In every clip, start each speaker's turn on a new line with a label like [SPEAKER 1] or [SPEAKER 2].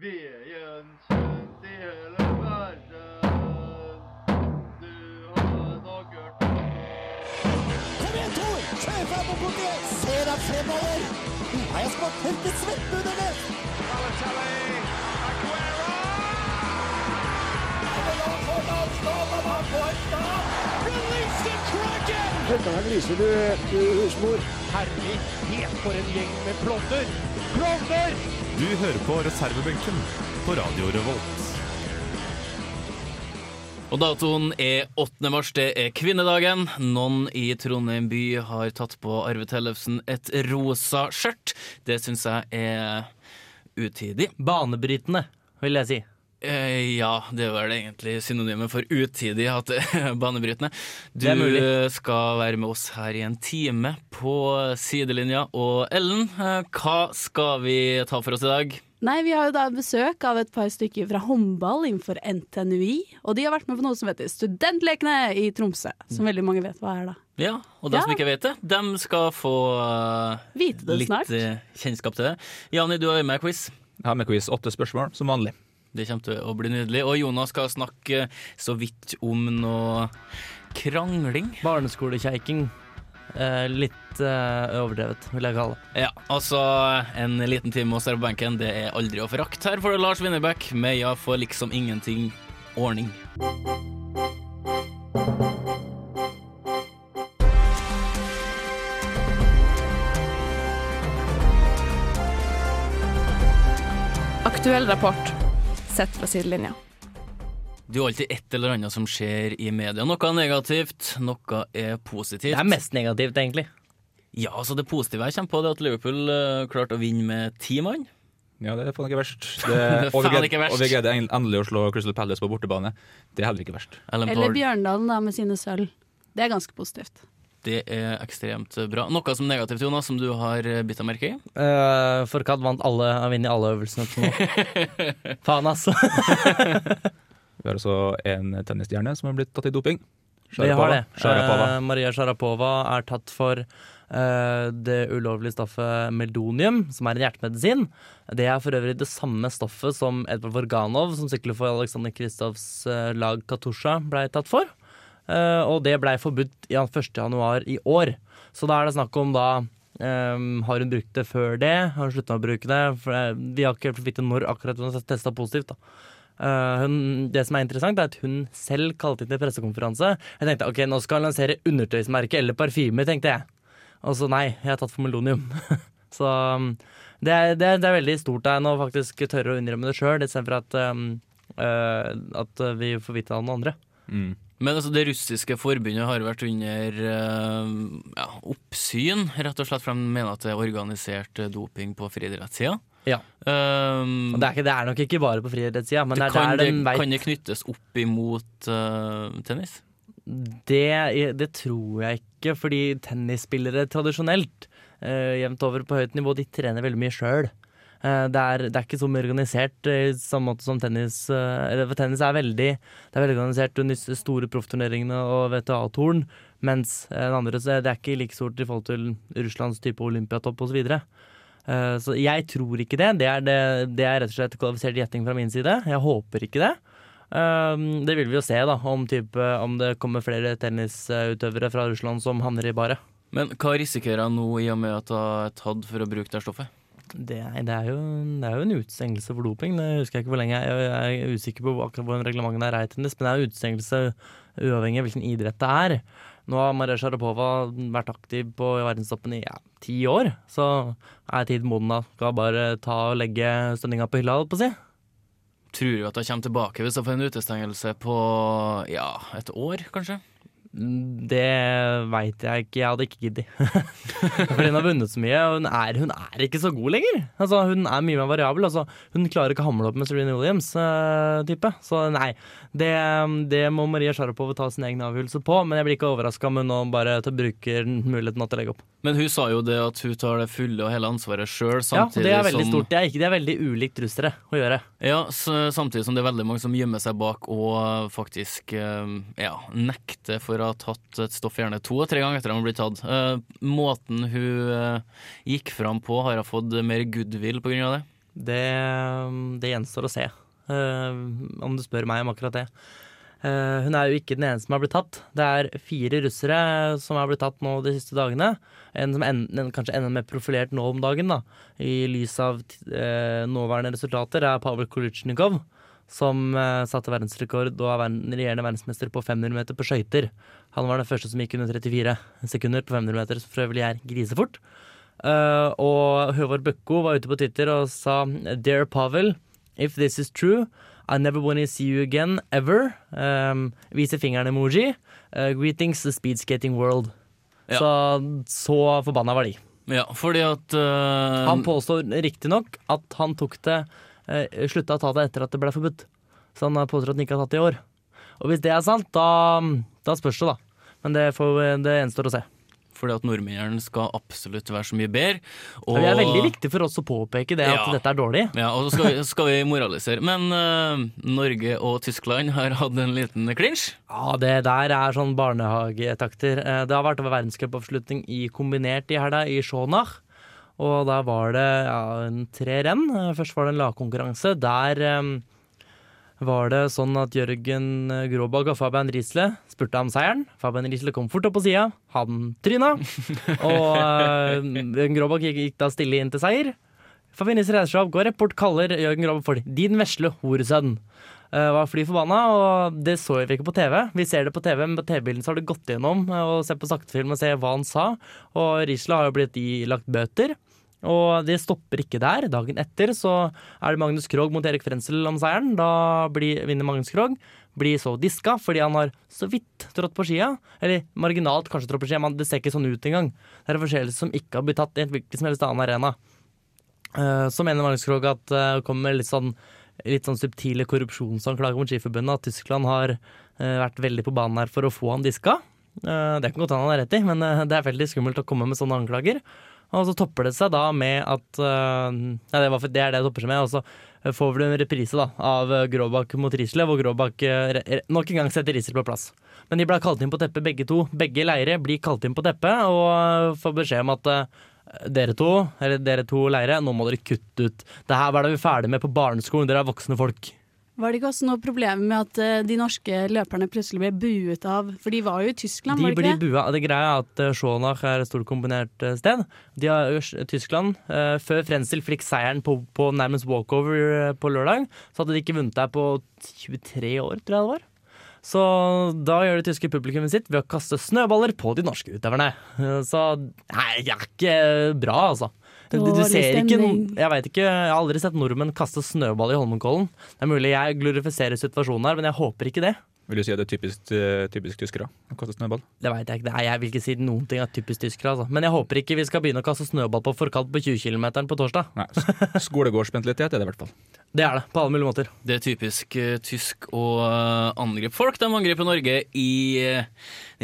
[SPEAKER 1] ved Jensen i hele verden. Du har nok hørt om
[SPEAKER 2] Kom igjen, Tor! Kjør frem og bort igjen! Se deg fremover! Nå er jeg snart helt til svetten under det!
[SPEAKER 3] Du hører på reservebenken på Radio Revolt.
[SPEAKER 4] Og datoen er 8. mars, det er kvinnedagen. Noen i Trondheim by har tatt på Arve Tellefsen et rosa skjørt. Det syns jeg er utidig.
[SPEAKER 5] Banebrytende, vil jeg si.
[SPEAKER 4] Eh, ja, det er vel egentlig synonymet for utidig at det er banebrytende. Du
[SPEAKER 5] Det er mulig.
[SPEAKER 4] skal være med oss her i en time på sidelinja. Og Ellen, eh, hva skal vi ta for oss i dag?
[SPEAKER 6] Nei, vi har jo da besøk av et par stykker fra håndball innenfor NTNUI. Og de har vært med på noe som heter Studentlekene i Tromsø. Som veldig mange vet hva er, da.
[SPEAKER 4] Ja, og de
[SPEAKER 6] Ja.
[SPEAKER 4] som ikke vet det, dem skal få eh,
[SPEAKER 6] Vite det
[SPEAKER 4] litt
[SPEAKER 6] snart.
[SPEAKER 4] eh, kjennskap til det. Jani, du har med quiz.
[SPEAKER 3] Her med quiz åtte spørsmål, som vanlig.
[SPEAKER 4] Det kommer til å bli nydelig. Og Jonas skal snakke så vidt om noe krangling.
[SPEAKER 5] Barneskolekjeiking. Eh, litt eh, overdrevet, vil jeg kalle det.
[SPEAKER 4] Ja, altså en liten time hos dere på benken, det er aldri å forakte. Her får du Lars Winnerbæk med Ja for liksom ingenting ordning.
[SPEAKER 7] Aktuell rapport sett fra sidelinja.
[SPEAKER 4] Det er jo alltid et eller annet som skjer i media. Noe er negativt, noe er positivt.
[SPEAKER 5] Det er mest negativt, egentlig.
[SPEAKER 4] Ja, altså Det positive jeg kommer på, det er at Liverpool eh, klarte å vinne med ti mann.
[SPEAKER 3] Ja, det er faen ikke verst. Det,
[SPEAKER 4] er
[SPEAKER 3] og vi
[SPEAKER 4] faen
[SPEAKER 3] greide-
[SPEAKER 4] ikke verst.
[SPEAKER 3] Og vi greide en- endelig å slå Crystal Palace på bortebane. Det er heller ikke verst.
[SPEAKER 4] Ellen
[SPEAKER 6] Eller
[SPEAKER 4] Pard,
[SPEAKER 6] Bjørndalen, da, med sine sølv. Det er ganske positivt.
[SPEAKER 4] det er ekstremt bra. Noe som er negativt, Jonas, som du har eh, bitt deg merke i?
[SPEAKER 5] Eh, Forkant vant alle, har vunnet alle øvelsene til nå. Faen, altså.
[SPEAKER 3] Vi har også en tennisstjerne som har blitt tatt i doping.
[SPEAKER 5] Vi har det.
[SPEAKER 3] Sharapova.
[SPEAKER 5] Eh, Maria Sharapova er tatt for eh, det ulovlige stoffet meldonium, som er en hjertemedisin. Det er for øvrig det samme stoffet som Edvard Vorganov, som sykler for Alexander Kristoffs eh, lag Katusha, ble tatt for. Eh, og det ble forbudt i an- 1. januar i år. Så da er det snakk om da eh, har hun brukt det før det? Har hun slutta å bruke det? For, eh, vi har ikke helt fått vite når akkurat hun har testa positivt. da Eh, hun, det som er interessant, er at hun selv kalte inn til pressekonferanse. Jeg tenkte ok, nå skal han lansere undertøysmerke eller parfyme, tenkte jeg. Og så nei, jeg har tatt for melonium. så um, det er, det, er, det er veldig stort av henne å faktisk tørre å innrømme det sjøl, istedenfor at, um, eh, at vi får vite det av noen andre.
[SPEAKER 3] Mm.
[SPEAKER 4] Men altså, det russiske forbundet har vært under eh, ja, oppsyn, rett og slett, for de mener at det er organisert eh, doping på friidrettssida.
[SPEAKER 5] Ja.
[SPEAKER 4] Um,
[SPEAKER 5] Og det er, ikke, det er nok ikke bare på friidrettssida, men det er
[SPEAKER 4] kan,
[SPEAKER 5] der
[SPEAKER 4] det,
[SPEAKER 5] den veit
[SPEAKER 4] kan det knyttes opp imot eh, tennis?
[SPEAKER 5] Det, det tror jeg ikke, fordi tennisspillere tradisjonelt, eh, jevnt over på høyt nivå, de trener veldig mye sjøl. Eh, det, er, det er ikke så mye organisert eh, i samme måte som tennis. eh, eller, for tennis er veldig, det er veldig organisert under disse store proffturneringene og VTA-toren, mens eh, den andre så er det er ikke like stort i forhold til Russlands type olympiatopp osv. Uh, så jeg tror ikke det. Det er, det, det er rett og slett kvalifisert gjetting fra min side. Jeg håper ikke det. Um, det vil vi jo se, da, om, type, om det kommer flere tennisutøvere fra Russland som havner i baret.
[SPEAKER 4] Men hva risikerer jeg nå i og med at jeg er tatt for å bruke det stoffet?
[SPEAKER 5] Det er, det, er jo, det er jo en utestengelse for doping. Det husker jeg ikke hvor lenge. Jeg, jeg er usikker på akkurat hvordan reglementene er i tennis, men det er en utestengelse uavhengig av hvilken idrett det er. Nå har Maria Sharapova vært aktiv på verdenstoppen i ja, ti år, så er tiden moden da. Skal bare ta og legge stønninga på hylla, holdt på å si.
[SPEAKER 4] Tror du at jeg kommer tilbake hvis jeg får en utestengelse på ja, et år, kanskje?
[SPEAKER 5] Mm, Det veit jeg ikke. Jeg hadde ikke giddet. Fordi hun har vunnet så mye. og Hun er, hun er ikke så god lenger. Altså, hun er mye mer variabel. Altså, hun klarer ikke å hamle opp med Serena Williams-type. så nei, det, det må Maria Sharapova ta sin egen avgjørelse på. Men jeg blir ikke overraska om hun nå bare tar- bruker muligheten til å legge opp.
[SPEAKER 4] Men hun sa jo det at hun tar det fulle og hele ansvaret sjøl,
[SPEAKER 5] Ja, og
[SPEAKER 4] samtidig
[SPEAKER 5] det er veldig
[SPEAKER 4] som
[SPEAKER 5] stort. Det er, ikke, det er veldig ulikt russere å gjøre.
[SPEAKER 4] Ja, s- samtidig som det er veldig mange som gjemmer seg bak og faktisk eh, ja, nekter for å ha tatt et stoff gjerne to og tre ganger etter at de har blitt tatt. Eh, Måten hun eh, gikk fram på, har hun fått mer goodwill på grunn av det?
[SPEAKER 5] Det, det gjenstår å se, eh, om du spør meg om akkurat det. Eh, hun er jo ikke den eneste som har blitt tatt. Det er fire russere som har blitt tatt nå de siste dagene. En som en, en, kanskje enda mer profilert nå om dagen, da, i lys av eh, nåværende resultater, er Pavel Kolutsjnikov. Som eh, satte verdensrekord og er verden, regjerende verdensmester på 500 meter på skøyter. Han var den første som gikk under 34 sekunder på 500 meter, som for øvrig er grisefort. Eh, og Høvard Bøkko var ute på Twitter og sa Dear Pavel, if this is true, I never wanna see you again, ever. Um, vise fingeren-emoji. Eh, greetings the speed skating world.
[SPEAKER 4] Ja.
[SPEAKER 5] Så, så forbanna var de.
[SPEAKER 4] Ja, fordi at eh,
[SPEAKER 5] Han påstår riktignok at han tok det eh, slutta å ta det etter at det ble forbudt. Så han eh, påstår at han ikke har tatt det i år. Og hvis det er sant, da, da spørs det, da. Men det, får, det gjenstår å se.
[SPEAKER 4] Fordi at nordmennene skal absolutt være så mye bedre.
[SPEAKER 5] Men Det er veldig viktig for oss å påpeke det at
[SPEAKER 4] Ja.
[SPEAKER 5] dette er dårlig.
[SPEAKER 4] Ja, og så skal vi, skal vi moralisere. Men eh, Norge og Tyskland har hatt en liten clinch.
[SPEAKER 5] Ja, det der er sånn barnehagetakter. Eh, Det har vært over verdenscupavslutning i kombinert i helga i Schonach. Og der var det ja, en tre renn. Eh, Først var det en lagkonkurranse. Der eh, var det sånn at Jørgen Gråbakk og Fabian Riesle spurte om seieren. Fabian Riesle kom fort opp på sida, han tryna. Og eh, Gråbakk gikk, gikk da stille inn til seier. Fabinis Reiseskap går rett bort, kaller Jørgen Gråbakk for 'din vesle horesønn'. Eh, var fly forbanna, og det så vi ikke på TV. Vi ser det på TV, men på TV-bilden så har det gått gjennom eh, og se på saktefilm og se hva han sa. Og Risla har jo blitt ilagt bøter. Og det stopper ikke der. Dagen etter så er det Magnus Krogh mot Erik Frensel om seieren. Da blir, vinner Magnus Krogh. Blir så diska fordi han har så vidt trådt på skia. Eller marginalt kanskje trådt på skia, men det ser ikke sånn ut engang. Det er en forseelse som ikke har blitt tatt i en hvilken som helst annen arena. Eh, Så mener Magnus Krogh at det kommer med litt sånn litt sånn subtile korrupsjonsanklager mot Skiforbundet. At Tyskland har eh, vært veldig på banen her for å få han diska. Eh, det kan godt hende han har rett i, men eh, det er veldig skummelt å komme med sånne anklager. Og så topper det seg da med at eh, ja, det, var, for- det er det det topper seg med. Og så eh, får vi en reprise da, av eh, Gråbakk mot Risle, hvor Gråbakk eh, re- re- nok en gang setter Risle på plass. Men de ble kalt inn på teppet, begge to. Begge leire blir kalt inn på teppet og eh, får beskjed om at eh, dere to, eller dere to leire, nå må dere kutte ut. Det her var det vi ferdig med på barneskolen, dere er voksne folk.
[SPEAKER 6] Var det ikke også noe problem med at eh, de norske løperne plutselig ble buet av? For de var jo i Tyskland,
[SPEAKER 5] De
[SPEAKER 6] var det
[SPEAKER 5] blir
[SPEAKER 6] ikke det?
[SPEAKER 5] bua. Det greia er at eh, Schonach er et stort kombinert eh, sted. De har øs- Tyskland. eh, Før Frenzel fikk seieren på, på nærmest walkover eh, på lørdag, så hadde de ikke vunnet der på 23 år, tror jeg det var. Så da gjør det tyske publikummet sitt ved å kaste snøballer på de norske utøverne. Eh, Så nei, det er ikke bra, altså. Du, du
[SPEAKER 6] Dårlig
[SPEAKER 5] ser ikke,
[SPEAKER 6] stemning.
[SPEAKER 5] jeg, vet ikke, jeg har aldri sett nordmenn kaste snøball i Holmenkollen. Det er mulig jeg glorifiserer situasjonen her, men jeg håper ikke det.
[SPEAKER 8] Vil du si at det er typisk, eh, typisk tyskere å kaste snøball?
[SPEAKER 5] Det veit jeg ikke. Nei, jeg vil ikke si noen ting er typisk tyskere. Altså. Men jeg håper ikke vi skal begynne å kaste snøball på forkant på 20 km på torsdag.
[SPEAKER 8] Nei, s- skolegårdsmentalitet er det i hvert fall.
[SPEAKER 5] Det er det, på alle mulige måter.
[SPEAKER 4] Det er typisk eh, tysk å eh, angripe folk. De angriper Norge i eh,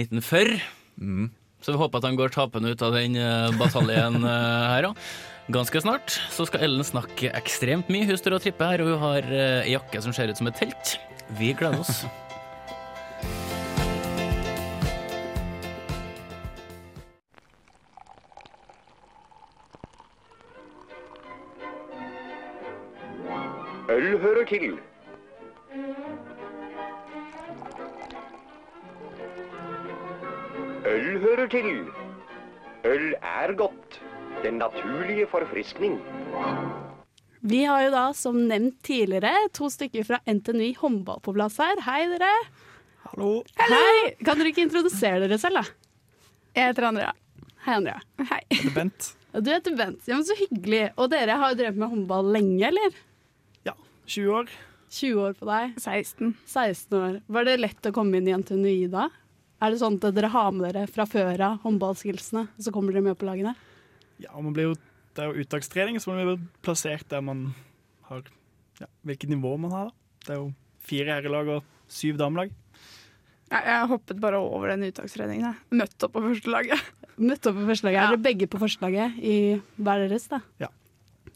[SPEAKER 4] 1940.
[SPEAKER 5] Mm.
[SPEAKER 4] Så vi håper at han går tapende ut av den eh, bataljen eh, her òg. Ganske snart så skal Ellen snakke ekstremt mye. Hun står og tripper her, og hun har eh, ei jakke som ser ut som et telt. Vi gleder oss.
[SPEAKER 9] Øl hører til. Øl hører til. Øl er godt. Den naturlige forfriskning.
[SPEAKER 6] Vi har jo da, som nevnt tidligere, to stykker fra NTNU i håndball på plass her. Hei, dere. Hallo. Hei. Kan dere ikke introdusere dere selv, da?
[SPEAKER 7] Jeg heter Andrea.
[SPEAKER 6] Hei, Andrea.
[SPEAKER 7] Hei.
[SPEAKER 10] Bent.
[SPEAKER 6] Og Du heter Bent. Ja, men Så hyggelig. Og dere har jo drevet med håndball lenge, eller?
[SPEAKER 10] 20 år.
[SPEAKER 6] 20 år på deg.
[SPEAKER 7] 16.
[SPEAKER 6] 16 år. Var det lett å komme inn i NTNUI da? Er det sånn at dere har med dere fra før av håndballskillsene, og så kommer dere med på lagene?
[SPEAKER 10] Ja, og man blir jo, det er jo uttakstrening, så man blir plassert der man har ja, Hvilket nivå man har, da. Det er jo fire herrelag og syv damelag.
[SPEAKER 7] Jeg, jeg hoppet bare over den uttakstreningen. jeg. Møtte opp på første laget.
[SPEAKER 6] Møtte opp på førstelaget.
[SPEAKER 7] Ja.
[SPEAKER 6] Er dere begge på førstelaget i hver deres, da?
[SPEAKER 10] Ja.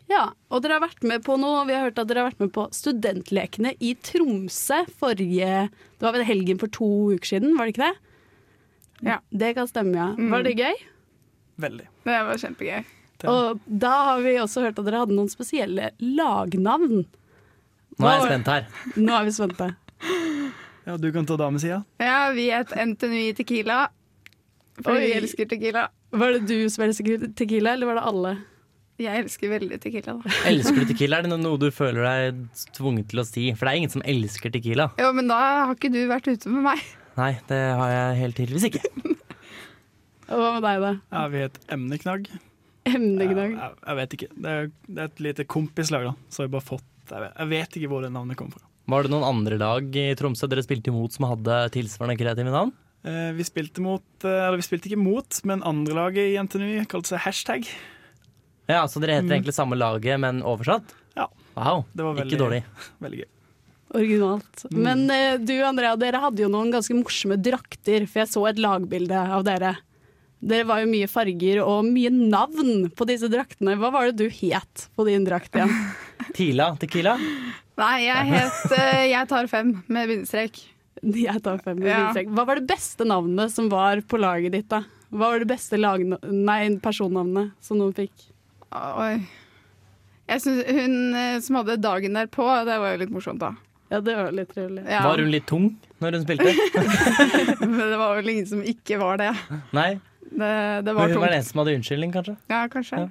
[SPEAKER 6] Ja, og dere har vært med på noe, vi har hørt at dere har vært med på studentlekene i Tromsø forrige Det var vel helgen for to uker siden, var det ikke det?
[SPEAKER 7] Ja.
[SPEAKER 6] Mm. Det kan stemme, ja. Var det gøy?
[SPEAKER 10] Veldig.
[SPEAKER 7] Det var kjempegøy.
[SPEAKER 6] Og da har vi også hørt at dere hadde noen spesielle lagnavn.
[SPEAKER 5] Nå er jeg spent her.
[SPEAKER 6] Nå er vi spente.
[SPEAKER 10] Ja, du kan ta damesida.
[SPEAKER 7] Ja, vi het NTNUI Tequila. For
[SPEAKER 6] Oi.
[SPEAKER 7] vi elsker tequila.
[SPEAKER 6] Var det du som elsket tequila, eller var det alle?
[SPEAKER 7] Jeg elsker veldig tequila, da.
[SPEAKER 5] Elsker du tequila? Er det noe du føler deg tvunget til å si? For det er ingen som elsker tequila.
[SPEAKER 7] Jo, men da har ikke du vært ute med meg.
[SPEAKER 5] Nei, det har jeg helt tydeligvis ikke.
[SPEAKER 6] Og hva med deg, da?
[SPEAKER 10] Ja, vi het Emneknagg.
[SPEAKER 6] Emnegnag.
[SPEAKER 10] Jeg, jeg vet ikke. Det er, det er et lite kompislag, da. Så jeg bare fått jeg vet, jeg vet ikke hvor det navnet kom fra.
[SPEAKER 5] Var det noen andre lag i Tromsø dere spilte imot som hadde tilsvarende kreative navn?
[SPEAKER 10] Eh, vi spilte mot eh, Eller vi spilte ikke mot, men andrelaget i NTNU kalte seg hashtag.
[SPEAKER 5] Ja, Så dere heter egentlig samme laget, men oversatt?
[SPEAKER 10] Mm. Ja.
[SPEAKER 5] Wow,
[SPEAKER 10] Det var veldig-
[SPEAKER 5] ikke dårlig.
[SPEAKER 10] Veldig gøy.
[SPEAKER 6] Originalt. Men eh, du, Andrea, dere hadde jo noen ganske morsomme drakter, for jeg så et lagbilde av dere. Dere var jo mye farger og mye navn på disse draktene. Hva var det du het på din drakt igjen?
[SPEAKER 5] Tila tequila?
[SPEAKER 7] Nei, jeg het eh, Jeg tar fem med bindestrek.
[SPEAKER 6] Jeg tar fem med
[SPEAKER 7] Ja.
[SPEAKER 6] vinstrek. Hva var det beste navnet som var på laget ditt, da? Hva var det beste lagna- nei, personnavnet som noen fikk?
[SPEAKER 7] Oi. Jeg synes Hun eh, som hadde dagen derpå, det var jo litt morsomt, da.
[SPEAKER 6] Ja, det var litt trivelig.
[SPEAKER 7] Ja,
[SPEAKER 5] Var hun litt tung når hun spilte?
[SPEAKER 7] Men det var vel ingen som ikke var det.
[SPEAKER 5] Nei,
[SPEAKER 7] Det, det
[SPEAKER 5] men
[SPEAKER 7] var
[SPEAKER 5] hun var den
[SPEAKER 7] tungt.
[SPEAKER 5] eneste som hadde unnskyldning, kanskje?
[SPEAKER 7] Ja, kanskje.
[SPEAKER 5] Ja.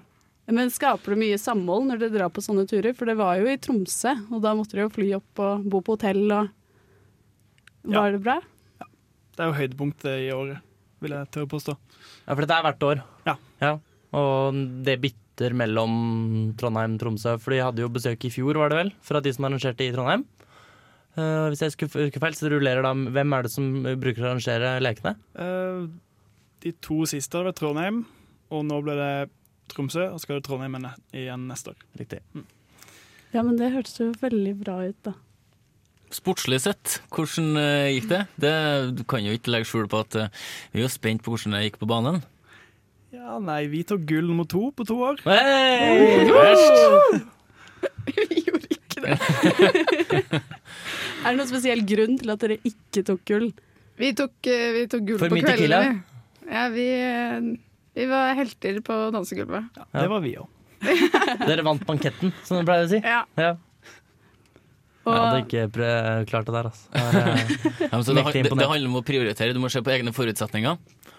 [SPEAKER 6] Men skaper det mye samhold når dere drar på sånne turer? For det var jo i Tromsø, og da måtte dere jo fly opp og bo på hotell og
[SPEAKER 10] Ja.
[SPEAKER 6] Var det bra?
[SPEAKER 10] Det er jo høydepunktet i året, vil jeg tørre å påstå.
[SPEAKER 5] Ja, For dette er hvert år.
[SPEAKER 10] Ja.
[SPEAKER 5] Og det bytter mellom Trondheim og Tromsø, for de hadde jo besøk i fjor, var det vel, fra de som arrangerte i Trondheim. Eh, hvis jeg husker husker feil, så rullerer da Hvem er det som bruker å arrangere lekene?
[SPEAKER 10] Eh, de to siste hadde vært Trondheim, og nå ble det Tromsø. Og så skal det Trondheim igjen- igjen neste år.
[SPEAKER 5] Riktig.
[SPEAKER 6] Ja, men det hørtes jo veldig bra ut, da.
[SPEAKER 4] Sportslig sett, hvordan eh, gikk det? det? Du kan jo ikke legge skjul på at eh, vi er jo spent på hvordan det gikk på banen.
[SPEAKER 10] Ja, nei, vi tok gull nummer to på to år.
[SPEAKER 5] Hey!
[SPEAKER 7] Vi gjorde ikke det.
[SPEAKER 6] Er det noen spesiell grunn til at dere ikke tok gull?
[SPEAKER 7] Vi tok, eh, vi tok gull
[SPEAKER 5] For
[SPEAKER 7] på
[SPEAKER 5] mye tequila?
[SPEAKER 7] kveldene. vi. Ja, vi, eh, vi var helter på dansegulvet.
[SPEAKER 10] Det var vi òg.
[SPEAKER 5] Dere vant banketten, som de pleier å si.
[SPEAKER 7] Ja.
[SPEAKER 5] Ja.
[SPEAKER 6] Og
[SPEAKER 5] Jeg hadde ikke pre- klart det der, altså. Det er,
[SPEAKER 4] Ja, men så det,
[SPEAKER 5] Mektig
[SPEAKER 4] det, det
[SPEAKER 5] imponert.
[SPEAKER 4] handler om å prioritere. Du må se på egne forutsetninger.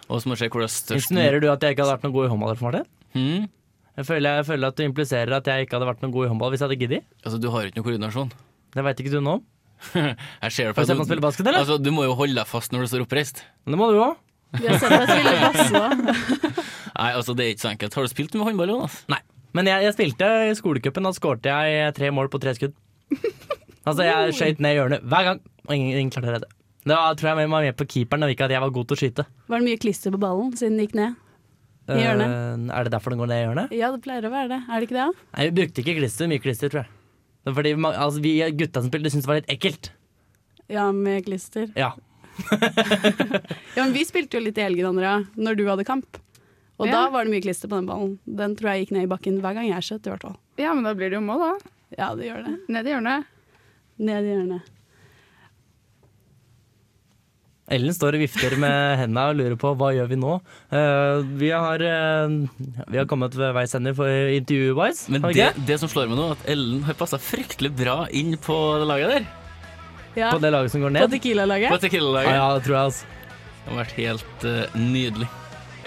[SPEAKER 4] Og så må du se hvor det er
[SPEAKER 5] eh,
[SPEAKER 4] størst
[SPEAKER 5] Insinuerer du at jeg ikke hadde vært noe god i håndball? Alf Martin?
[SPEAKER 4] Hmm?
[SPEAKER 5] Jeg føler, jeg føler at du impliserer at jeg ikke hadde vært noe god i håndball hvis jeg hadde giddet.
[SPEAKER 4] Altså, du har jo ikke noe koordinasjon.
[SPEAKER 5] Det veit ikke du nå.
[SPEAKER 4] Jeg ser det
[SPEAKER 5] Har du
[SPEAKER 4] på-
[SPEAKER 5] sett meg spille basket, eller?
[SPEAKER 4] Altså, du må jo holde deg fast når du står oppreist.
[SPEAKER 5] Men Det må du òg.
[SPEAKER 6] vi har sett deg spille basse òg.
[SPEAKER 4] Nei, altså, det er ikke så enkelt. Har du spilt med håndball, Jonas?
[SPEAKER 5] Nei. Men jeg, jeg spilte i skolecupen. Da skårte jeg tre mål på tre skudd. Altså, jeg skøyt ned i hjørnet hver gang, og ingen, ingen klarte å redde. Da tror jeg jeg var med på keeperen og ikke at jeg var god til å skyte.
[SPEAKER 6] Var det mye klister på ballen siden den gikk ned? I hjørnet?
[SPEAKER 5] Eh, er det derfor den går ned i hjørnet?
[SPEAKER 6] Ja, det pleier å være det. Er det ikke det?
[SPEAKER 5] Nei, vi brukte ikke klister, mye klister, tror jeg. Det var fordi ma- altså, vi gutta som spilte, syntes det var litt ekkelt.
[SPEAKER 6] Ja, med klister.
[SPEAKER 5] Ja.
[SPEAKER 6] Ja, men vi spilte jo litt i helgen, Andrea, når du hadde kamp. Og
[SPEAKER 7] Ja.
[SPEAKER 6] da var det mye klister på den ballen. Den tror jeg gikk ned i bakken hver gang jeg skjøt, i hvert fall.
[SPEAKER 7] ja, men da blir det jo mål, da.
[SPEAKER 6] Ja, det gjør det.
[SPEAKER 7] Ned i hjørnet.
[SPEAKER 6] Ned i hjørnet.
[SPEAKER 5] Ellen står og vifter med hendene og lurer på hva gjør vi nå. Eh, vi, har, eh, vi har kommet ved veis ende for intervjuet-wise.
[SPEAKER 4] Men
[SPEAKER 5] har vi
[SPEAKER 4] det,
[SPEAKER 5] ikke
[SPEAKER 4] det som slår meg nå, er at Ellen har passa fryktelig bra inn på det laget der.
[SPEAKER 6] Ja,
[SPEAKER 5] På det laget som
[SPEAKER 6] på
[SPEAKER 5] går ned?
[SPEAKER 4] På
[SPEAKER 6] Tequila-laget.
[SPEAKER 5] Ja,
[SPEAKER 4] Tequila-laget.
[SPEAKER 5] ja, det tror jeg, altså.
[SPEAKER 4] Det har vært helt eh, nydelig.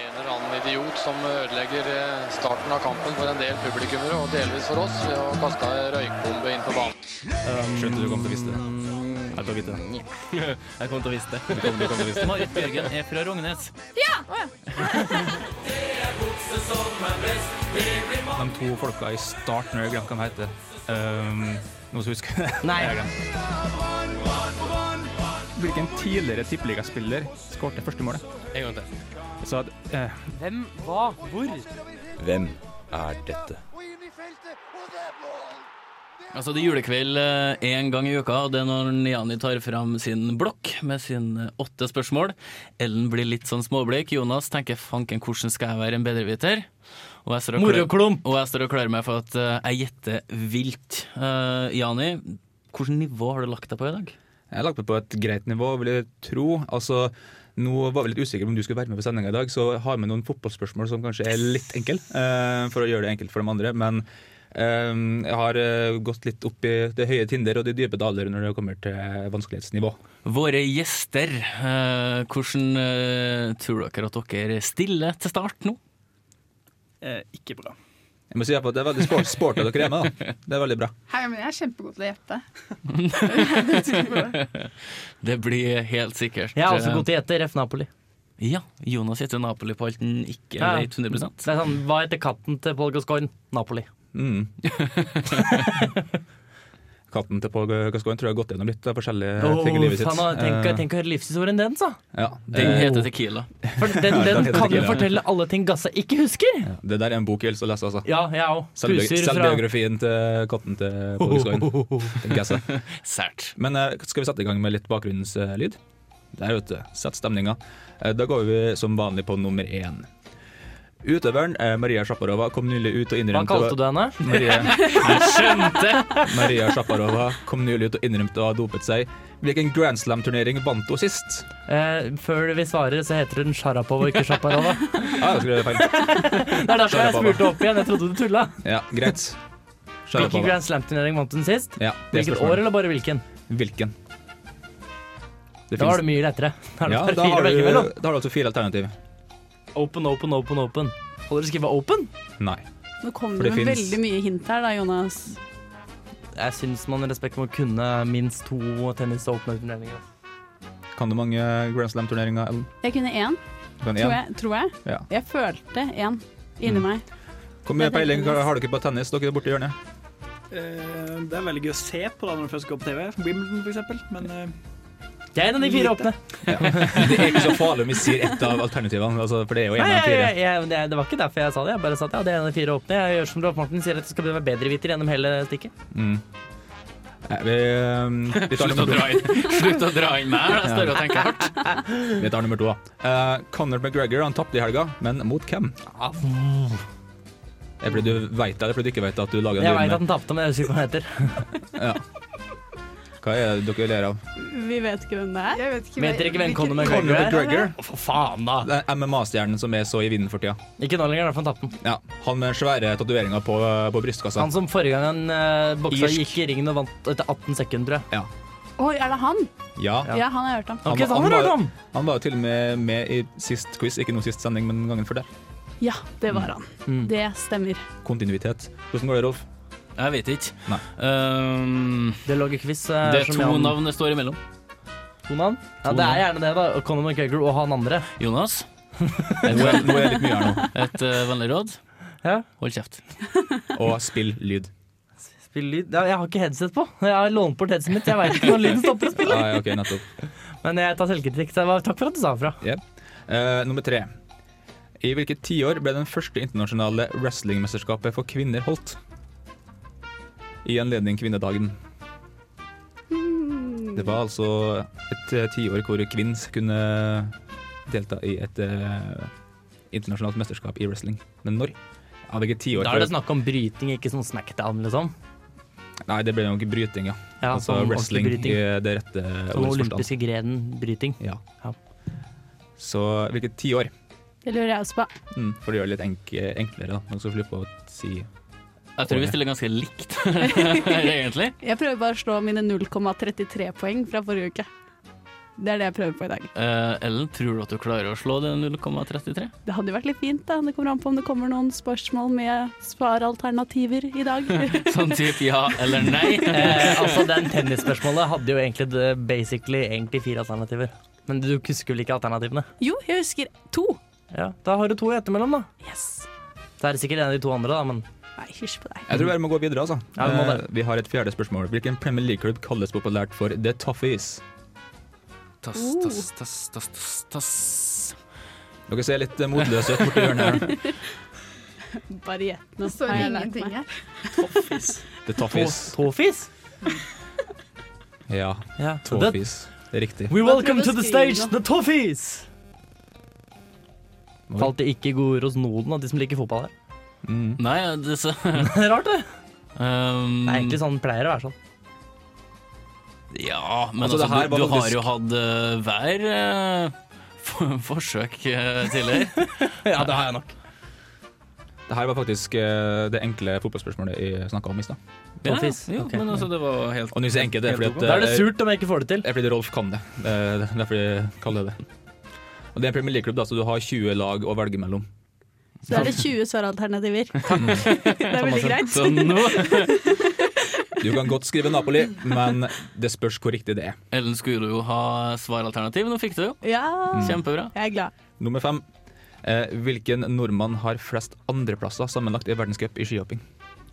[SPEAKER 11] En eller annen idiot som ødelegger eh, starten av kampen for en del publikummere, og delvis for oss, ved å kaste ei røykbombe inn på banen.
[SPEAKER 8] Skjønte du kom til å vise det. Jeg tar vite det.
[SPEAKER 4] Jeg kommer til å vise det.
[SPEAKER 8] Du kom, du kom til å vise det.
[SPEAKER 4] Marit Bjørgen er fra Rognes.
[SPEAKER 8] De to folka i starten, jeg glemte hva de heter. Um, noen som husker det?
[SPEAKER 5] Nei.
[SPEAKER 8] Jeg har glemt. Hvilken tidligere tippeligaspiller skårte første målet?
[SPEAKER 4] En gang til.
[SPEAKER 8] Så at, eh,
[SPEAKER 5] Hvem, hva, hvor?
[SPEAKER 9] Hvem er dette?
[SPEAKER 4] Altså, det er julekveld én gang i uka, og det er når Niani tar fram sin blokk med sine åtte spørsmål. Ellen blir litt sånn småbleik. Jonas tenker 'fanken, hvordan skal jeg være en bedreviter?' Og jeg står og klør-
[SPEAKER 5] Moroklump.
[SPEAKER 4] og jeg står og klør meg for at eh, jeg gjetter vilt. Eh, Jani, hvilket nivå har du lagt deg på i dag?
[SPEAKER 8] jeg har lagt meg på et greit nivå, vil jeg tro. Altså, Nå var vi litt usikre på om du skulle være med på sendinga i dag, så jeg har med noen fotballspørsmål som kanskje er litt enkle, eh, for å gjøre det enkelt for de andre. Men eh, jeg har eh, gått litt opp i det høye Tinder og de dype daler når det kommer til vanskelighetsnivå.
[SPEAKER 4] Våre gjester, eh, hvordan eh, tror dere at dere stiller til start nå?
[SPEAKER 10] Eh, ikke bra.
[SPEAKER 8] Jeg må si at Det er veldig sport, sporty dere er med, da. Det er veldig bra.
[SPEAKER 7] Hei, men jeg er kjempegod til å gjette.
[SPEAKER 4] Det blir helt sikkert eh,
[SPEAKER 5] Jeg er også god til å gjette Ref Napoli.
[SPEAKER 4] Ja, Jonas gjetter Napoli på alt han ikke
[SPEAKER 5] Ja.
[SPEAKER 4] vet 100
[SPEAKER 5] Det er sånn, Hva heter katten til Paul Gascoigne? Napoli.
[SPEAKER 8] Katten til Pål Gascoigne tror jeg har gått gjennom litt av forskjellige
[SPEAKER 5] Åh,
[SPEAKER 8] ting i livet sitt.
[SPEAKER 5] faen, da, tenk,
[SPEAKER 8] Eh,
[SPEAKER 5] tenk å høre livshistorien dens, da!
[SPEAKER 8] ja.
[SPEAKER 4] Den
[SPEAKER 8] Eh,
[SPEAKER 4] heter Tequila.
[SPEAKER 5] For den,
[SPEAKER 8] Ja,
[SPEAKER 5] den
[SPEAKER 8] heter
[SPEAKER 5] kan jo
[SPEAKER 8] Tequila.
[SPEAKER 5] fortelle alle ting Gasse ikke husker!
[SPEAKER 8] Det der er en bok jeg elsker å lese, altså.
[SPEAKER 5] Ja, jeg òg.
[SPEAKER 8] Selvbi-
[SPEAKER 5] Huser fra
[SPEAKER 8] Selvbiografien til katten til Pål Gascoigne. Tenker jeg så.
[SPEAKER 4] Sært.
[SPEAKER 8] Men eh, skal vi sette i gang med litt bakgrunnslyd? Der, vet du. Sett stemninga. Eh, Da går vi som vanlig på nummer én. Utøveren eh, Maria Sjaparova kom nylig ut og
[SPEAKER 5] Hva
[SPEAKER 8] innrømte
[SPEAKER 5] kalte du henne?
[SPEAKER 8] Maria,
[SPEAKER 4] Skjønte!
[SPEAKER 8] Maria Sjaparova kom nylig ut og innrømte å ha dopet seg. Hvilken Grand Slam-turnering vant hun sist?
[SPEAKER 5] Eh, før vi svarer, så heter hun Sharapova, ikke Shaparova.
[SPEAKER 8] Ah, jeg skrev det feil.
[SPEAKER 5] Det er derfor jeg
[SPEAKER 8] Sharapova.
[SPEAKER 5] spurte opp igjen, jeg trodde du tulla.
[SPEAKER 8] Ja, greit.
[SPEAKER 5] Hvilken
[SPEAKER 8] Sharapova.
[SPEAKER 5] Grand Slam-turnering vant hun sist?
[SPEAKER 8] Ja, det er
[SPEAKER 5] Hvilket
[SPEAKER 8] spørsmålet.
[SPEAKER 5] år, eller bare hvilken?
[SPEAKER 8] Hvilken? Det
[SPEAKER 5] Da
[SPEAKER 8] finnes-
[SPEAKER 5] var det mye lettere. Da er det
[SPEAKER 8] ja,
[SPEAKER 5] bare
[SPEAKER 8] da
[SPEAKER 5] fire å
[SPEAKER 8] har, du,
[SPEAKER 5] velge
[SPEAKER 8] da
[SPEAKER 5] mellom.
[SPEAKER 8] har du altså fire alternativ.
[SPEAKER 5] Open, open, open, open. Har dere skrevet open?
[SPEAKER 8] Nei.
[SPEAKER 6] Nå kom
[SPEAKER 8] For
[SPEAKER 6] du
[SPEAKER 8] det
[SPEAKER 6] med
[SPEAKER 8] finnes-
[SPEAKER 6] veldig mye hint her, da, Jonas.
[SPEAKER 5] Jeg syns man i respekt må kunne minst to tennis- og åpnerturneringer.
[SPEAKER 8] Kan du mange Grand Slam-turneringer, Ellen?
[SPEAKER 6] Jeg kunne én,
[SPEAKER 8] Du kan
[SPEAKER 6] tror
[SPEAKER 8] én.
[SPEAKER 6] jeg. Tror jeg.
[SPEAKER 8] Ja. Mm.
[SPEAKER 6] jeg følte én inni meg.
[SPEAKER 8] Hvor mye peiling har dere på tennis? Dere er borti hjørnet.
[SPEAKER 10] Eh, det er veldig gøy å se på da når du først går på TV. Wimbledon, for eksempel. Men eh,
[SPEAKER 5] Jeg er en av de fire åpne.
[SPEAKER 8] Det er ikke så farlig om vi sier ett av alternativene, altså, for det er jo
[SPEAKER 5] Nei,
[SPEAKER 8] en av
[SPEAKER 5] jeg,
[SPEAKER 8] fire.
[SPEAKER 5] jeg, jeg, det, det var ikke derfor jeg sa det. Jeg bare sa at ja, det er en av de fire åpne. Jeg gjør som Rolf Martin sier, at det skal bli bedreviter gjennom hele stikket.
[SPEAKER 8] Mm. Nei, Vi, um, vi, tar
[SPEAKER 4] Slutt å
[SPEAKER 8] nummer to.
[SPEAKER 4] dra inn, Slutt å dra inn meg, jeg står og tenker hardt.
[SPEAKER 8] vi tar nummer to, da. Eh, Conor McGregor han tapte i helga, men mot hvem?
[SPEAKER 5] Ah.
[SPEAKER 8] Er det fordi du veit det, eller fordi du ikke veit at du lager
[SPEAKER 5] Jeg
[SPEAKER 8] en
[SPEAKER 5] veit
[SPEAKER 8] lyd
[SPEAKER 5] at den tapte, men jeg husker ikke hva den heter.
[SPEAKER 8] med Hva er det dere ler av?
[SPEAKER 6] Vi vet ikke hvem det er.
[SPEAKER 7] Jeg vet ikke
[SPEAKER 5] Mente dere ikke hvem Conor
[SPEAKER 8] Conor
[SPEAKER 5] McGregor er?
[SPEAKER 8] McGregor,
[SPEAKER 5] Å, For faen, da!
[SPEAKER 8] det er MMA-stjernen som er så i vinden for tida.
[SPEAKER 5] Ikke nå lenger, da, for han tapte den.
[SPEAKER 8] Ja, han med svære tatoveringer på, eh, på brystkassa.
[SPEAKER 5] Han som forrige gang han eh, boksa,
[SPEAKER 8] Irsk.
[SPEAKER 5] gikk i ringen og vant etter 18 sekunder, tror jeg.
[SPEAKER 6] Oi, er det han?
[SPEAKER 8] Ja.
[SPEAKER 6] Ja, han har jeg hørt om.
[SPEAKER 5] Ok, så han
[SPEAKER 8] han,
[SPEAKER 5] har hørt
[SPEAKER 8] var,
[SPEAKER 5] om!
[SPEAKER 8] han var jo til og med med i sist quiz, ikke noe sist sending, men gangen før der.
[SPEAKER 6] Ja, det var han.
[SPEAKER 5] Mm.
[SPEAKER 6] Det stemmer.
[SPEAKER 8] Kontinuitet. Hvordan går det, Rolf?
[SPEAKER 4] Jeg vet ikke.
[SPEAKER 8] Nei.
[SPEAKER 4] Ehm,
[SPEAKER 5] Det lå ikke quiz. eh,
[SPEAKER 4] det er to navn det står imellom.
[SPEAKER 5] To navn? Ja, det er gjerne det, da. Conor McGregor og han andre.
[SPEAKER 4] Jonas,
[SPEAKER 8] Nå er, nå er det litt mye her nå.
[SPEAKER 4] et eh, vennlig råd.
[SPEAKER 5] Ja.
[SPEAKER 4] Hold kjeft.
[SPEAKER 8] Og spill lyd.
[SPEAKER 5] Spill lyd ja, Jeg har ikke headset på. Jeg har lånt bort headsetet mitt. Jeg veit ikke når lyden stopper å spille.
[SPEAKER 8] Ah, ja, ok, nettopp.
[SPEAKER 5] Men jeg tar selvkritikk. Så det var, takk for at du sa fra.
[SPEAKER 8] Eh, nummer tre. I hvilket tiår ble den første internasjonale wrestlingmesterskapet for kvinner holdt? I anledning kvinnedagen. Det var altså et eh, tiår hvor kvinns kunne delta i et eh, internasjonalt mesterskap i wrestling. Men når? Ja, hvilket tiår?
[SPEAKER 5] Da er det snakk om bryting, ikke sånn smackdown, liksom.
[SPEAKER 8] Nei, det ble nok bryting, ja.
[SPEAKER 5] Ja,
[SPEAKER 8] altså
[SPEAKER 5] sånn ordentlig
[SPEAKER 8] wrestling i
[SPEAKER 5] bryting.
[SPEAKER 8] det rette
[SPEAKER 5] Sånn
[SPEAKER 8] ordets forstand.
[SPEAKER 5] olympiske grenen bryting.
[SPEAKER 8] Ja.
[SPEAKER 5] Ja.
[SPEAKER 8] Så hvilket tiår?
[SPEAKER 6] Det lurer jeg også på.
[SPEAKER 8] Mm, for å gjøre det litt enk enklere, da. Man skal slippe å si
[SPEAKER 4] Jeg tror vi stiller ganske likt, egentlig.
[SPEAKER 6] Jeg prøver bare å slå mine 0,33 poeng fra forrige uke. Det er det jeg prøver på i dag.
[SPEAKER 4] Eh, Ellen, tror du at du klarer å slå det 0,33?
[SPEAKER 6] Det hadde jo vært litt fint, da. Det kommer an på om det kommer noen spørsmål med svaralternativer i dag.
[SPEAKER 4] Sånn type ja eller nei?
[SPEAKER 5] Eh, altså, den tennisspørsmålet hadde jo egentlig det- basically egentlig fire alternativer. Men du husker vel ikke alternativene?
[SPEAKER 6] jo, jeg husker to.
[SPEAKER 5] Ja, Da har du to i ettermellom, da.
[SPEAKER 6] Yes.
[SPEAKER 5] Så er det sikkert en av de to andre, da, men
[SPEAKER 6] Nei, hysj på deg.
[SPEAKER 8] Jeg tror vi bare må gå videre, altså.
[SPEAKER 5] Mm. Ja, vi må
[SPEAKER 8] Eh,
[SPEAKER 5] det.
[SPEAKER 8] vi har et fjerde spørsmål. Hvilken Premier League-klubb kalles populært for The Toughies?
[SPEAKER 4] Tass, tass, tass, tass, tass, tass.
[SPEAKER 8] Dere ser litt eh, motløse ut borti hjørnet her.
[SPEAKER 6] Bare gjett nå.
[SPEAKER 7] Det står
[SPEAKER 6] Har jeg lært
[SPEAKER 7] ingenting
[SPEAKER 6] meg.
[SPEAKER 7] her.
[SPEAKER 8] The
[SPEAKER 5] Tå-
[SPEAKER 8] Toughies.
[SPEAKER 5] Tåfis?
[SPEAKER 8] Ja,
[SPEAKER 5] Ja. Det-
[SPEAKER 8] Toffees. Det er riktig.
[SPEAKER 5] We welcome
[SPEAKER 6] prøver
[SPEAKER 5] to the
[SPEAKER 6] å skrive
[SPEAKER 5] stage,
[SPEAKER 6] noe.
[SPEAKER 5] the Toffees! Falt det ikke i gode ord hos noen av de som liker fotball her?
[SPEAKER 8] Mm.
[SPEAKER 4] Nei, det så
[SPEAKER 5] Rart, det.
[SPEAKER 4] um,
[SPEAKER 5] Det er
[SPEAKER 8] Mm.
[SPEAKER 5] egentlig sånn det pleier å være sånn.
[SPEAKER 4] Ja, men
[SPEAKER 8] Altså,
[SPEAKER 4] altså,
[SPEAKER 8] det her
[SPEAKER 4] du,
[SPEAKER 8] var
[SPEAKER 4] du har
[SPEAKER 8] faktisk-
[SPEAKER 4] jo hatt eh, hver eh, for- forsøk eh, tidligere.
[SPEAKER 5] ja, det har jeg nok.
[SPEAKER 8] Det her var faktisk eh, det enkle fotballspørsmålet jeg snakka om i stad.
[SPEAKER 4] Ja, jo, men altså, det var helt
[SPEAKER 8] Og når jeg sier enkelt, det er fordi at eh,
[SPEAKER 5] Da er det surt om jeg ikke får det til.
[SPEAKER 8] Det er fordi Rolf kan det. Det er det er derfor jeg kaller det det. Og Det er en Premier League-klubb, da, så du har 20 lag å velge mellom.
[SPEAKER 6] Så er det 20 søralternativer. Det er veldig greit.
[SPEAKER 8] Du kan godt skrive Napoli, men det spørs hvor riktig det er.
[SPEAKER 4] Ellen skulle jo ha svaralternativ, nå fikk du det jo.
[SPEAKER 6] Ja,
[SPEAKER 4] Kjempebra.
[SPEAKER 6] jeg er glad.
[SPEAKER 8] Nummer fem. Eh, hvilken nordmann har flest andreplasser sammenlagt i verdenscup i skihopping?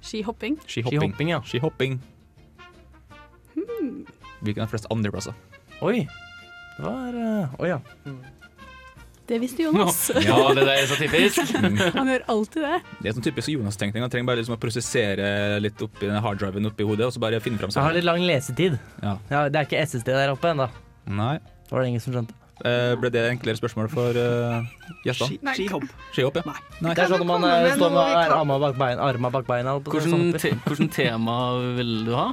[SPEAKER 6] Skihopping.
[SPEAKER 8] Skihopping. Skihopping. Hvilken har flest andreplasser?
[SPEAKER 5] Oi. Det var eh, Oi, ja.
[SPEAKER 6] Det visste Jonas.
[SPEAKER 4] Ja, det der er så typisk.
[SPEAKER 6] Han gjør alltid det.
[SPEAKER 8] Det er sånn typisk Jonas-tenkning. Han trenger bare liksom å prosessere litt oppi den harddriven oppi hodet, og så bare finne fram
[SPEAKER 5] Så jeg har
[SPEAKER 8] seg.
[SPEAKER 5] litt lang lesetid.
[SPEAKER 8] Ja.
[SPEAKER 5] det er ikke SSD der oppe ennå.
[SPEAKER 8] Nei.
[SPEAKER 5] Det var det ingen som skjønte.
[SPEAKER 8] Eh, ble det enklere spørsmål for eh, gjestene?
[SPEAKER 7] Nei,
[SPEAKER 8] Skihopp, ja. Nei.
[SPEAKER 5] Det er sånn at man
[SPEAKER 7] Kan
[SPEAKER 5] eh,
[SPEAKER 7] det komme
[SPEAKER 5] står med
[SPEAKER 7] noe vi kan-
[SPEAKER 5] arma bak beina. Arma bak beina holdt på å si, sånn
[SPEAKER 4] Hvordan,
[SPEAKER 5] oppi.
[SPEAKER 4] te hvordan tema vil du ha?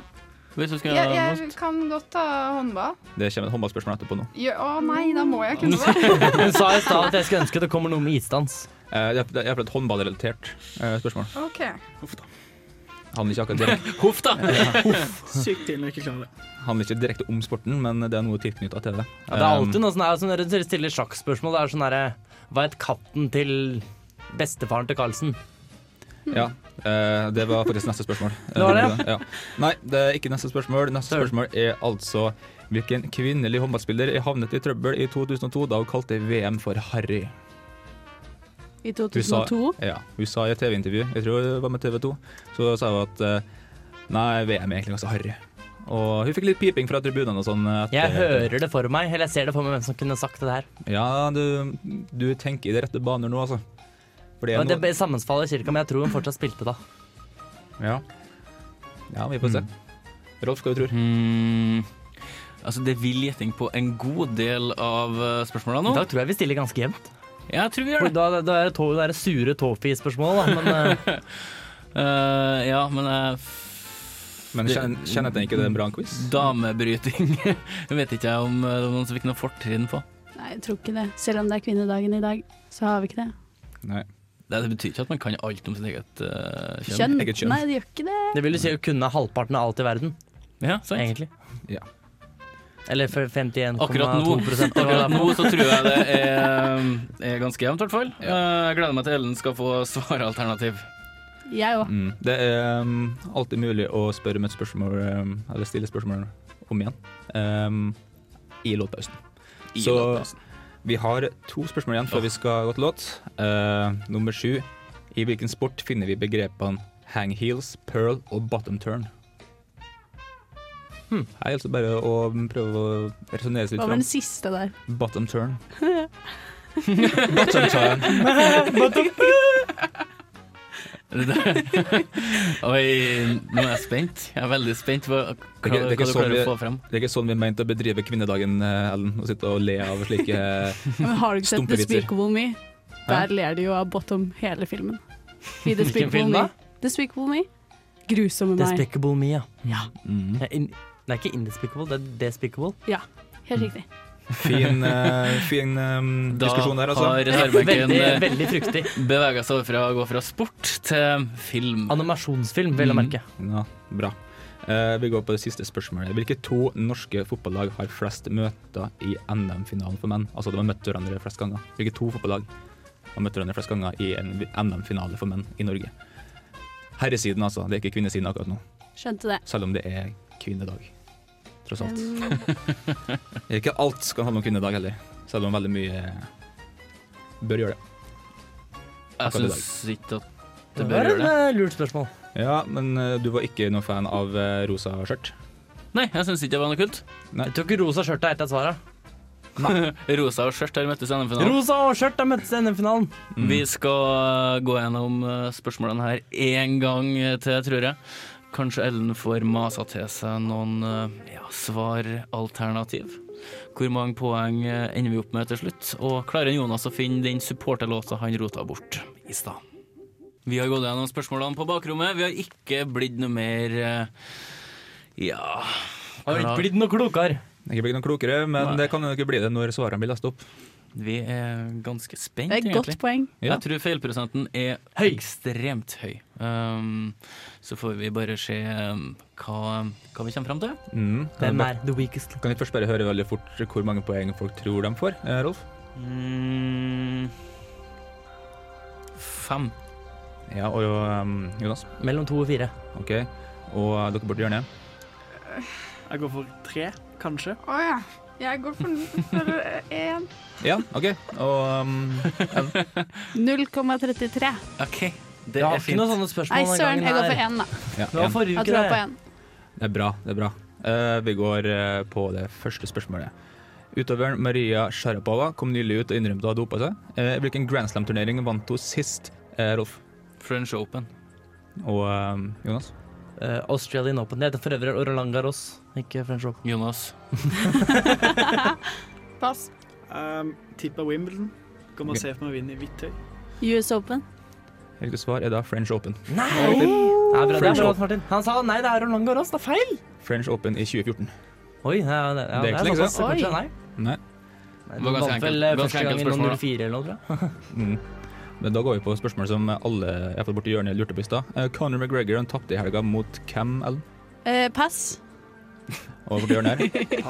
[SPEAKER 4] Hvis du skal
[SPEAKER 7] jeg,
[SPEAKER 4] ha
[SPEAKER 7] jeg kan godt ta håndball.
[SPEAKER 8] Det kommer et håndballspørsmål etterpå nå.
[SPEAKER 7] Gjø- Å nei, da må jeg kunne det.
[SPEAKER 5] Hun sa i stad at jeg skulle ønske det kommer noe med isdans.
[SPEAKER 8] Eh, det er- det er iallfall et håndballrelatert eh, spørsmål.
[SPEAKER 7] OK.
[SPEAKER 8] Handler ikke akkurat direkte,
[SPEAKER 4] Huff, da!
[SPEAKER 10] Sykt tidlig når jeg ikke klarer det.
[SPEAKER 8] handler ikke direkte om sporten, men det er noe tilknytta til det. Eh,
[SPEAKER 5] Ja, det er alltid noe sånn her som dere stiller sjakkspørsmål. Det er sånn herre Hva het katten til bestefaren til Karlsen?
[SPEAKER 8] Ja, eh, det var faktisk neste spørsmål.
[SPEAKER 5] Det var det,
[SPEAKER 8] ja. Nei, det er ikke neste spørsmål. Neste spørsmål er altså hvilken kvinnelig håndballspiller er havnet i trøbbel i 2002 da hun kalte VM for Harry?
[SPEAKER 6] I
[SPEAKER 8] Hun sa,
[SPEAKER 6] 2002.
[SPEAKER 8] ja, hun sa i et TV-intervju, jeg tror det var med TV 2, så sa hun at eh, nei, VM er egentlig ganske harry. Og hun fikk litt piping fra tribunene og sånn. etter-
[SPEAKER 5] Jeg hører det for meg, eller jeg ser det for meg hvem som kunne sagt det her.
[SPEAKER 8] Ja, du, du tenker i de rette baner nå, altså. For det er
[SPEAKER 5] Og
[SPEAKER 8] noe
[SPEAKER 5] det sammensfaller cirka, men jeg tror hun fortsatt spilte da.
[SPEAKER 8] Ja. ja, vi får
[SPEAKER 5] Mm.
[SPEAKER 8] se. Rolf, hva du tror
[SPEAKER 4] Hmm. Altså, det vil gjetting på en god del av eh, spørsmålene nå.
[SPEAKER 5] Da tror jeg vi stiller ganske jevnt.
[SPEAKER 4] Jeg tror vi gjør
[SPEAKER 5] For
[SPEAKER 4] det.
[SPEAKER 5] Da, da er det, to, det er sure tofi-spørsmål, da. Men eh,
[SPEAKER 4] Eh, ja, men eh,
[SPEAKER 8] Men kjenner, kjenner jeg ikke det er en bra quiz?
[SPEAKER 4] damebryting Jeg vet ikke om eh, det var noen som fikk noe fortrinn på.
[SPEAKER 6] Nei, jeg tror ikke det. Selv om det er kvinnedagen i dag, så har vi ikke det.
[SPEAKER 8] Nei.
[SPEAKER 4] Det, det betyr ikke at man kan alt om sitt eget eh, kjønn.
[SPEAKER 6] Kjønn.
[SPEAKER 8] Eget kjønn.
[SPEAKER 6] Nei, det gjør ikke det.
[SPEAKER 5] det vil jo si å kunne halvparten av alt i verden,
[SPEAKER 4] Ja, sant?
[SPEAKER 5] egentlig.
[SPEAKER 8] Ja.
[SPEAKER 5] Eller for 51,2
[SPEAKER 4] Akkurat nå,
[SPEAKER 5] prosent, eller hva det
[SPEAKER 4] akkurat
[SPEAKER 5] er for
[SPEAKER 4] nå
[SPEAKER 5] noe.
[SPEAKER 4] så tror jeg det er, er ganske jevnt, i hvert fall. Eh, Jeg gleder meg til Ellen skal få svaralternativ.
[SPEAKER 6] Jeg òg.
[SPEAKER 8] Mm. Det er um, alltid mulig å spørre med et spørsmål, um, eller stille spørsmål om igjen, um, i låtpausen.
[SPEAKER 4] I
[SPEAKER 8] Så
[SPEAKER 4] låtpausen.
[SPEAKER 8] vi har to spørsmål igjen før vi skal gå til låt. Eh, nummer sju. I hvilken sport finner vi begrepene hang heels, pearl og bottom turn? Her gjelder det bare å prøve å resonnere seg litt
[SPEAKER 6] Hva var
[SPEAKER 8] fram.
[SPEAKER 6] den siste der?
[SPEAKER 8] Bottom turn. bottom turn.
[SPEAKER 4] Oi, nå er jeg spent. Jeg er veldig spent på hva, hva
[SPEAKER 8] er ikke- det
[SPEAKER 4] du
[SPEAKER 8] er ikke sånn
[SPEAKER 4] klarer å
[SPEAKER 8] vi-
[SPEAKER 4] få frem.
[SPEAKER 8] Det er ikke sånn vi mente å bedrive kvinnedagen, eh, Ellen. Å sitte og le av slike eh,
[SPEAKER 6] Men har du ikke sett
[SPEAKER 8] Stumpevitser.
[SPEAKER 6] Despicable Me? Der ler de jo av Bottom hele filmen. I Despicable
[SPEAKER 5] film
[SPEAKER 6] Me.
[SPEAKER 5] da?
[SPEAKER 6] Despicable Me. Grusomme meg.
[SPEAKER 5] Despicable me, ja.
[SPEAKER 8] mm.
[SPEAKER 5] Det er in- det er ikke indespicable, det er despicable.
[SPEAKER 6] Helt riktig.
[SPEAKER 8] Fin, eh, fin eh,
[SPEAKER 4] Da
[SPEAKER 8] diskusjon der, altså.
[SPEAKER 4] har
[SPEAKER 5] Veldig,
[SPEAKER 4] reservebenken
[SPEAKER 5] veldig fruktig.
[SPEAKER 4] bevega seg over fra å gå fra sport til film.
[SPEAKER 5] Animasjonsfilm, vel å
[SPEAKER 4] Mm.
[SPEAKER 5] merke.
[SPEAKER 8] Ja, bra. Eh, vi går på det siste spørsmålet. Hvilke to norske fotballag har flest møter i NM-finalen for menn? Altså de har møtt hverandre flest ganger. Hvilke to fotballag har møtt hverandre flest ganger i en NM-finale for menn i Norge? Herresiden, altså. Det er ikke kvinnesiden akkurat nå.
[SPEAKER 6] Skjønte det. Mm,
[SPEAKER 8] Selv om det er kvinnedag, tross alt. Ikke alt skal handle om kvinnedag heller, selv om veldig mye eh, bør gjøre det.
[SPEAKER 4] Jeg
[SPEAKER 8] akkurat i
[SPEAKER 4] syns ikke at
[SPEAKER 5] Det
[SPEAKER 4] det
[SPEAKER 5] var
[SPEAKER 4] bør
[SPEAKER 5] et
[SPEAKER 4] gjøre det.
[SPEAKER 5] eh, lurt spørsmål.
[SPEAKER 8] Ja, men eh, du var ikke noen fan av eh, rosa skjørt?
[SPEAKER 4] Nei, jeg syns ikke det var noe kult.
[SPEAKER 5] Jeg tror ikke rosa skjørt er et av svarene.
[SPEAKER 4] Rosa og skjørt har møttes i NM-finalen.
[SPEAKER 5] Rosa og skjørt har møttes i NM-finalen.
[SPEAKER 4] Vi
[SPEAKER 5] Mm.
[SPEAKER 4] skal gå gjennom eh, spørsmålene her én gang eh, til, tror jeg. Kanskje Ellen får masa til seg noen eh, ja, svaralternativ. Hvor mange poeng eh, ender vi opp med til slutt? Og klarer Jonas å finne den supporterlåta han rota bort i stad? Vi har gått gjennom spørsmålene på bakrommet. Vi har ikke blitt noe mer eh, Ja
[SPEAKER 5] Har ikke blitt noe klokere.
[SPEAKER 8] Det er ikke blitt noe klokere, men det kan jo ikke bli det når svarene blir lest opp.
[SPEAKER 4] Vi er ganske spent,
[SPEAKER 6] Det er et godt
[SPEAKER 4] egentlig.
[SPEAKER 6] poeng. Ja.
[SPEAKER 4] Jeg tror feilprosenten er ekstremt høy. Um, så får vi bare se um, hva, hva vi kommer fram til.
[SPEAKER 8] Mm.
[SPEAKER 4] Hvem
[SPEAKER 8] er
[SPEAKER 5] the weakest?
[SPEAKER 8] Kan vi først bare høre veldig fort hvor mange poeng folk tror de får, eh, Rolf?
[SPEAKER 4] Mm, fem.
[SPEAKER 8] Ja, og um, Jonas?
[SPEAKER 5] Mellom to og fire.
[SPEAKER 8] Ok, Og eh, dere borti hjørnet?
[SPEAKER 10] Jeg går for tre, kanskje.
[SPEAKER 7] Å ja. Jeg går for, for eh, en.
[SPEAKER 8] Ja, OK. Og um, en.
[SPEAKER 6] 0,33.
[SPEAKER 4] OK. Det
[SPEAKER 8] Ja,
[SPEAKER 4] er fint.
[SPEAKER 8] ikke noe sånne
[SPEAKER 6] Nei, søren, jeg går for én, da.
[SPEAKER 8] Ja, Det var en. forrige uke,
[SPEAKER 6] jeg tror
[SPEAKER 8] det.
[SPEAKER 6] på én.
[SPEAKER 8] Det er bra. det er bra. Eh, vi går eh, på det første spørsmålet. Utøveren Maria Sharapova kom nylig ut og innrømte å ha dopa seg. Eh, hvilken Grand Slam-turnering vant hun sist, eh, Rolf?
[SPEAKER 4] French Open.
[SPEAKER 8] Og eh, Jonas?
[SPEAKER 5] Eh, Australian Open. Det heter for øvrig Roland Garros, ikke French Open.
[SPEAKER 4] Jonas.
[SPEAKER 6] Pass.
[SPEAKER 10] Um, Tipper Wimbledon. Kommer
[SPEAKER 8] Ok.
[SPEAKER 10] og ser på meg vinne i hvitt tøy.
[SPEAKER 6] US Open.
[SPEAKER 8] Riktig svar er da French Open.
[SPEAKER 5] Nei!
[SPEAKER 8] Det
[SPEAKER 5] er bra, det er
[SPEAKER 8] French,
[SPEAKER 5] bra,
[SPEAKER 8] Open.
[SPEAKER 5] Martin. Han sa nei, det er Roland Garros, det er feil!
[SPEAKER 8] French Open i 2014.
[SPEAKER 5] Oi, ja, det, ja,
[SPEAKER 8] Det er ikke lenge
[SPEAKER 5] såpass, kanskje,
[SPEAKER 8] siden.
[SPEAKER 5] Nei.
[SPEAKER 8] Nei.
[SPEAKER 5] Nei, Det var ganske enkelt. Vel, eh,
[SPEAKER 8] Ganske
[SPEAKER 5] første gang
[SPEAKER 8] enkelt
[SPEAKER 5] i
[SPEAKER 8] spørsmål, da.
[SPEAKER 5] 04 eller noe, tror jeg.
[SPEAKER 8] Mm. Men da går vi på spørsmål som alle jeg har fått borti hjørnet lurte på i stad. Eh, Conor McGregor han tapte i helga mot Cam Allen.
[SPEAKER 6] Eh, pass.
[SPEAKER 8] Og borti hjørnet her.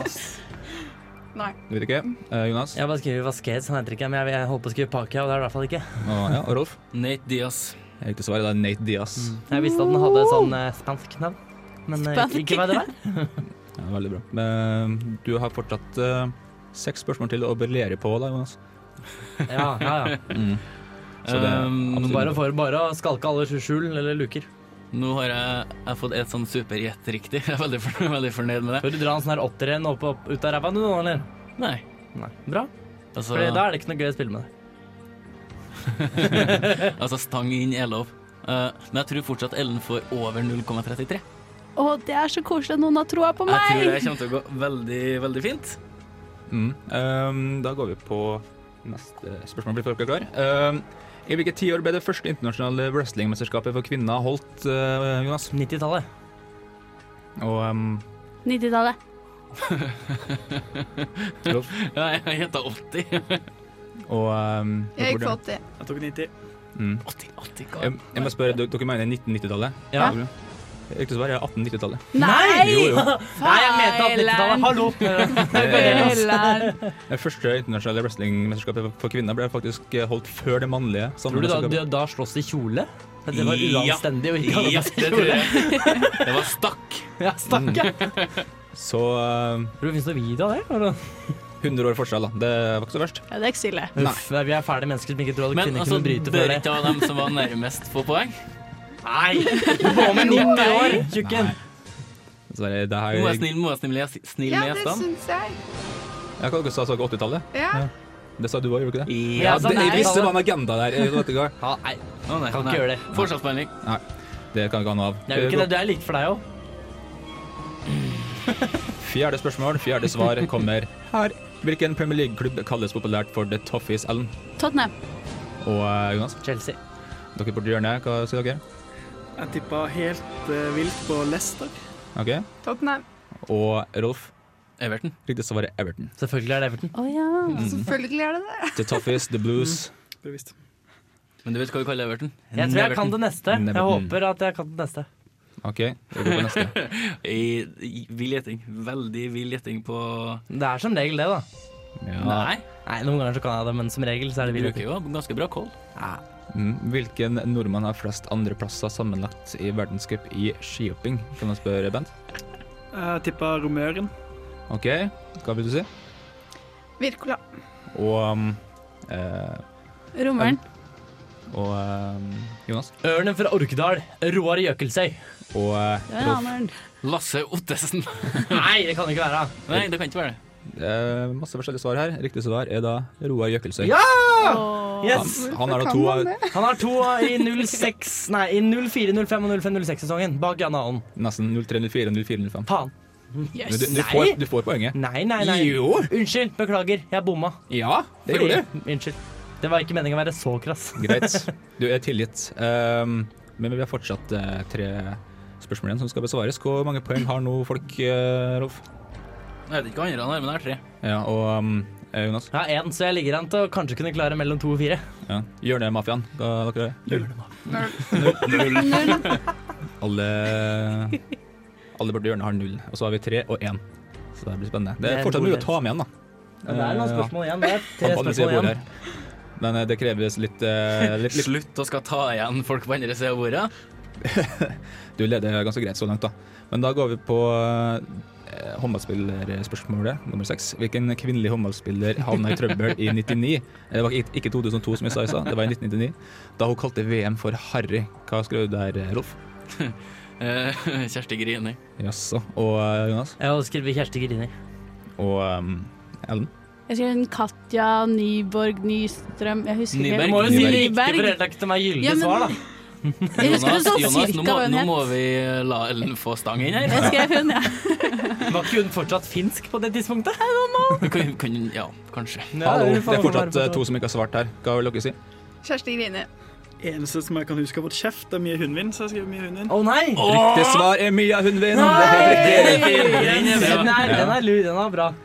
[SPEAKER 6] Nei.
[SPEAKER 8] Du vet ikke. Eh, Jonas?
[SPEAKER 5] Jeg bare skriver Vasquez, han heter ikke men jeg, jeg holdt på å skrive Pakia, og det er det i hvert fall ikke.
[SPEAKER 8] Og, ja, og Rolf?
[SPEAKER 4] Nate Diaz.
[SPEAKER 8] Riktig svar er da Nate Diaz.
[SPEAKER 5] Jeg visste at den hadde et sånn eh, spansk navn, men eh,
[SPEAKER 6] Spansk.
[SPEAKER 5] ikke hva det var.
[SPEAKER 8] Ja, veldig bra. Men du har fortsatt eh, seks spørsmål til å briljere på, da, Jonas.
[SPEAKER 5] Ja, ja, ja.
[SPEAKER 8] Mm. Så det er
[SPEAKER 4] Um,
[SPEAKER 8] absolutt
[SPEAKER 5] Ehm, Bare, for, bare å skalke alle skjul eller luker.
[SPEAKER 4] Nå har jeg, jeg har fått et sånn supergjett riktig. Jeg er veldig, fornøyd- veldig fornøyd med det.
[SPEAKER 5] Bør du dra en sånn her åtter igjen opp, opp, ut av ræva nå, eller?
[SPEAKER 4] Nei.
[SPEAKER 5] Nei. Bra.
[SPEAKER 4] Altså,
[SPEAKER 5] Fordi da er det ikke noe gøy å spille med.
[SPEAKER 4] altså stang inn Elov. Eh, men jeg tror fortsatt Ellen får over 0,33.
[SPEAKER 6] Å, det er så koselig at noen har troa på
[SPEAKER 4] Jeg tror
[SPEAKER 6] meg!
[SPEAKER 4] det kommer til å gå veldig, veldig fint.
[SPEAKER 8] Mm. Ehm, da går vi på neste spørsmål. Blir dere klare? Ehm, I hvilket tiår ble det første internasjonale wrestlingmesterskapet for kvinner holdt, eh, Jonas?
[SPEAKER 5] 90-tallet.
[SPEAKER 8] Og ehm,
[SPEAKER 6] 90-tallet.
[SPEAKER 8] Rolf?
[SPEAKER 4] Ja, jeg gjetta 80.
[SPEAKER 8] Og ehm,
[SPEAKER 7] Jeg gikk
[SPEAKER 8] Borti
[SPEAKER 7] for
[SPEAKER 8] hjørnet.
[SPEAKER 7] 80.
[SPEAKER 10] Jeg tok 90.
[SPEAKER 8] Mm.
[SPEAKER 4] 80, 80
[SPEAKER 8] Jeg, jeg må spørre, dere, dere mener 1990-tallet?
[SPEAKER 5] Ja.
[SPEAKER 8] Riktig svar er 1890-tallet.
[SPEAKER 6] Nei!
[SPEAKER 8] Jo, jo.
[SPEAKER 5] Nei, jeg mente at 90-tallet Hallo!
[SPEAKER 8] Det første internasjonale wrestlingmesterskapet for kvinner ble faktisk holdt før det mannlige.
[SPEAKER 5] Tror du da, da, da slåss de i kjole? Det var
[SPEAKER 4] Ja.
[SPEAKER 5] uanstendig å ikke ha
[SPEAKER 4] Ja,
[SPEAKER 5] på seg
[SPEAKER 4] det tror
[SPEAKER 5] kjole.
[SPEAKER 4] jeg. Det var stakk.
[SPEAKER 5] Ja, stakkar.
[SPEAKER 8] Så eh,
[SPEAKER 5] Tror du det finnes noen video av det? eller?
[SPEAKER 8] 100 år forskjell, da. Det var ikke så verst.
[SPEAKER 6] Ja, det er ikke så ille.
[SPEAKER 5] Uff, vi er fæle mennesker som ikke tror at
[SPEAKER 4] Men
[SPEAKER 5] kvinner
[SPEAKER 4] altså,
[SPEAKER 5] kunne bryte
[SPEAKER 4] bør
[SPEAKER 5] før det.
[SPEAKER 4] ikke av dem som var nærmest, få poeng?
[SPEAKER 5] Nei! Du må med 90 år, tjukken!
[SPEAKER 8] Dessverre, det
[SPEAKER 4] Må jeg
[SPEAKER 8] her
[SPEAKER 4] snill, må jeg snill, les- snill
[SPEAKER 7] Ja,
[SPEAKER 4] med
[SPEAKER 7] det
[SPEAKER 4] gjestene?
[SPEAKER 7] syns jeg.
[SPEAKER 8] Jeg kan ikke sa så 80-tallet.
[SPEAKER 7] Ja.
[SPEAKER 8] Det sa du òg, gjorde du ikke det?
[SPEAKER 5] Ja,
[SPEAKER 8] Ja,
[SPEAKER 5] altså,
[SPEAKER 8] det, jeg
[SPEAKER 5] nei.
[SPEAKER 8] visste det var en agenda der. Jeg vet ikke hva.
[SPEAKER 5] Ja, nei,
[SPEAKER 4] Å, nei,
[SPEAKER 5] kan
[SPEAKER 4] nei.
[SPEAKER 5] ikke gjøre det.
[SPEAKER 4] Forskjellsbehandling.
[SPEAKER 8] Nei, det kan vi ikke ha noe av. Eh,
[SPEAKER 5] Det er jo ikke det. Det er likt for deg òg.
[SPEAKER 8] Fjerde spørsmål, fjerde svar kommer her. Hvilken Premier League-klubb kalles populært for The Toffees Ellen?
[SPEAKER 6] Tottenham.
[SPEAKER 8] Og eh, Jonas,
[SPEAKER 5] Chelsea.
[SPEAKER 8] dere borti hjørnet, hva sier dere?
[SPEAKER 10] Jeg tippa helt eh, vilt på Leicester.
[SPEAKER 8] OK.
[SPEAKER 7] Tottenham.
[SPEAKER 8] Og Rolf,
[SPEAKER 4] Everton.
[SPEAKER 8] riktig svar er Everton.
[SPEAKER 5] Selvfølgelig er det Everton.
[SPEAKER 6] Å ja.
[SPEAKER 5] Mhm.
[SPEAKER 7] Selvfølgelig er det det.
[SPEAKER 8] The Toffees, The Blues.
[SPEAKER 10] Bevisst.
[SPEAKER 4] Men du vet hva vi kaller Everton?
[SPEAKER 5] Jeg tror jeg kan det neste. Jeg
[SPEAKER 8] Everton.
[SPEAKER 5] håper at jeg kan det neste.
[SPEAKER 8] OK, vi går på neste.
[SPEAKER 4] I, i, vill gjetting. Veldig vill gjetting på
[SPEAKER 5] Det er som regel det, da.
[SPEAKER 8] Ja.
[SPEAKER 4] Nei,
[SPEAKER 5] Nei, Noen ganger så kan jeg det, men som regel så er
[SPEAKER 4] vi
[SPEAKER 5] det
[SPEAKER 4] bruker
[SPEAKER 5] villig.
[SPEAKER 4] jo ganske bra kål.
[SPEAKER 8] Mm. Hvilken nordmann har flest andreplasser sammenlagt i verdenscup i skihopping? Kan man spørre, Bent?
[SPEAKER 10] Jeg tippa Romøren.
[SPEAKER 8] OK, hva vil du si?
[SPEAKER 7] Wirkola.
[SPEAKER 8] Og um, eh,
[SPEAKER 6] Rommeren.
[SPEAKER 8] Og um, Jonas.
[SPEAKER 5] Ørnen fra Orkedal. Roar Jøkelsøy.
[SPEAKER 8] Og eh,
[SPEAKER 6] Det er en
[SPEAKER 8] Rolf.
[SPEAKER 6] annen.
[SPEAKER 4] Lasse Ottesen.
[SPEAKER 5] Nei, det kan det ikke være.
[SPEAKER 4] Nei, det kan ikke være det.
[SPEAKER 8] Eh, masse forskjellige svar her. Riktig svar er da Roar Jøkelsøy.
[SPEAKER 5] Ja!
[SPEAKER 6] Åh.
[SPEAKER 5] Yes!
[SPEAKER 8] Han har da
[SPEAKER 7] Kan
[SPEAKER 8] to
[SPEAKER 7] man
[SPEAKER 8] av
[SPEAKER 7] det?
[SPEAKER 5] Han har to i 06 Nei, i 04, 05 og 05, 06-sesongen. Bak Jan Aalen.
[SPEAKER 8] nesten 0304 0405.
[SPEAKER 5] Faen.
[SPEAKER 8] Men du,
[SPEAKER 6] Yes.
[SPEAKER 8] du, får, du får poenget.
[SPEAKER 5] Nei, nei, nei.
[SPEAKER 8] Jo.
[SPEAKER 5] Unnskyld. Beklager. Jeg bomma.
[SPEAKER 8] Ja, det gjorde du.
[SPEAKER 5] Unnskyld. Det var ikke meningen å være så krass.
[SPEAKER 8] Greit. Du er tilgitt. Um, men vi har fortsatt eh, tre spørsmål igjen som skal besvares. Hvor mange poeng har nå folk, eh, Rolf?
[SPEAKER 4] Jeg vet ikke hva andre han har, men jeg har tre.
[SPEAKER 8] Ja, og um, eh, Jonas?
[SPEAKER 5] Jeg har én, så jeg ligger an til å kanskje kunne klare mellom to og fire.
[SPEAKER 8] Ja. Hjørnemafiaen, hva er dere?
[SPEAKER 5] Null.
[SPEAKER 8] Alle, alle borti hjørnet har null. Og så har vi tre og én. Så det blir spennende.
[SPEAKER 5] Det
[SPEAKER 8] Det
[SPEAKER 5] er
[SPEAKER 8] er
[SPEAKER 5] en
[SPEAKER 8] fortsatt
[SPEAKER 5] god
[SPEAKER 8] mye å
[SPEAKER 5] lest.
[SPEAKER 8] ta med igjen, da.
[SPEAKER 5] Ja, det er noen
[SPEAKER 8] Eh,
[SPEAKER 5] spørsmål igjen. Det er
[SPEAKER 8] ja,
[SPEAKER 5] tre
[SPEAKER 8] på andre siden av
[SPEAKER 5] spørsmål
[SPEAKER 8] bordet
[SPEAKER 5] igjen.
[SPEAKER 8] her. Men eh, det kreves litt, eh, litt, litt
[SPEAKER 4] Slutt å skal ta igjen folk på andre siden av bordet.
[SPEAKER 8] Du leder ganske greit så langt, da. Men da går vi på eh, håndballspillerspørsmålet nummer seks. Hvilken kvinnelig håndballspiller havna i trøbbel i 99? Det var ikke ikke 2002, som jeg sa i stad, det var i 1999. Da hun kalte VM for Harry. Hva skrev du der, Rolf?
[SPEAKER 4] Eh, Kjersti Grini.
[SPEAKER 8] Jaså. Og eh, Jonas?
[SPEAKER 5] Jeg har skrevet Kjersti Grini.
[SPEAKER 8] Og ehm, em, Ellen?
[SPEAKER 6] Jeg skrev en Katja Nyborg Nystrøm Jeg husker
[SPEAKER 4] Nyberg.
[SPEAKER 6] ikke.
[SPEAKER 4] Du må jo si
[SPEAKER 5] Riktig, for
[SPEAKER 6] Nyberg.
[SPEAKER 5] ellers er det ikke til meg gyldig
[SPEAKER 6] Ja, men-
[SPEAKER 5] svar, da.
[SPEAKER 6] Jeg husker det sånn
[SPEAKER 4] Jonas, nå
[SPEAKER 6] cirka
[SPEAKER 4] må,
[SPEAKER 6] hva hun
[SPEAKER 4] nå
[SPEAKER 6] het.
[SPEAKER 4] må vi la Ellen få stang inn her.
[SPEAKER 6] Jeg skrev hun, ja.
[SPEAKER 5] Var ikke hun fortsatt finsk på det tidspunktet? I don't know.
[SPEAKER 4] Kan, kan, ja, kanskje.
[SPEAKER 8] Hallo, det er fortsatt eh, to som ikke har svart her. Hva vil dere si?
[SPEAKER 7] Kjersti Grine.
[SPEAKER 10] Eneste som jeg kan huske har fått kjeft, det er mye hundvin, så jeg skriver mye hundvin.
[SPEAKER 5] Å nei!
[SPEAKER 8] Riktig svar er Mia Hundvin.
[SPEAKER 5] Den er, den er, den er lur, den er bra.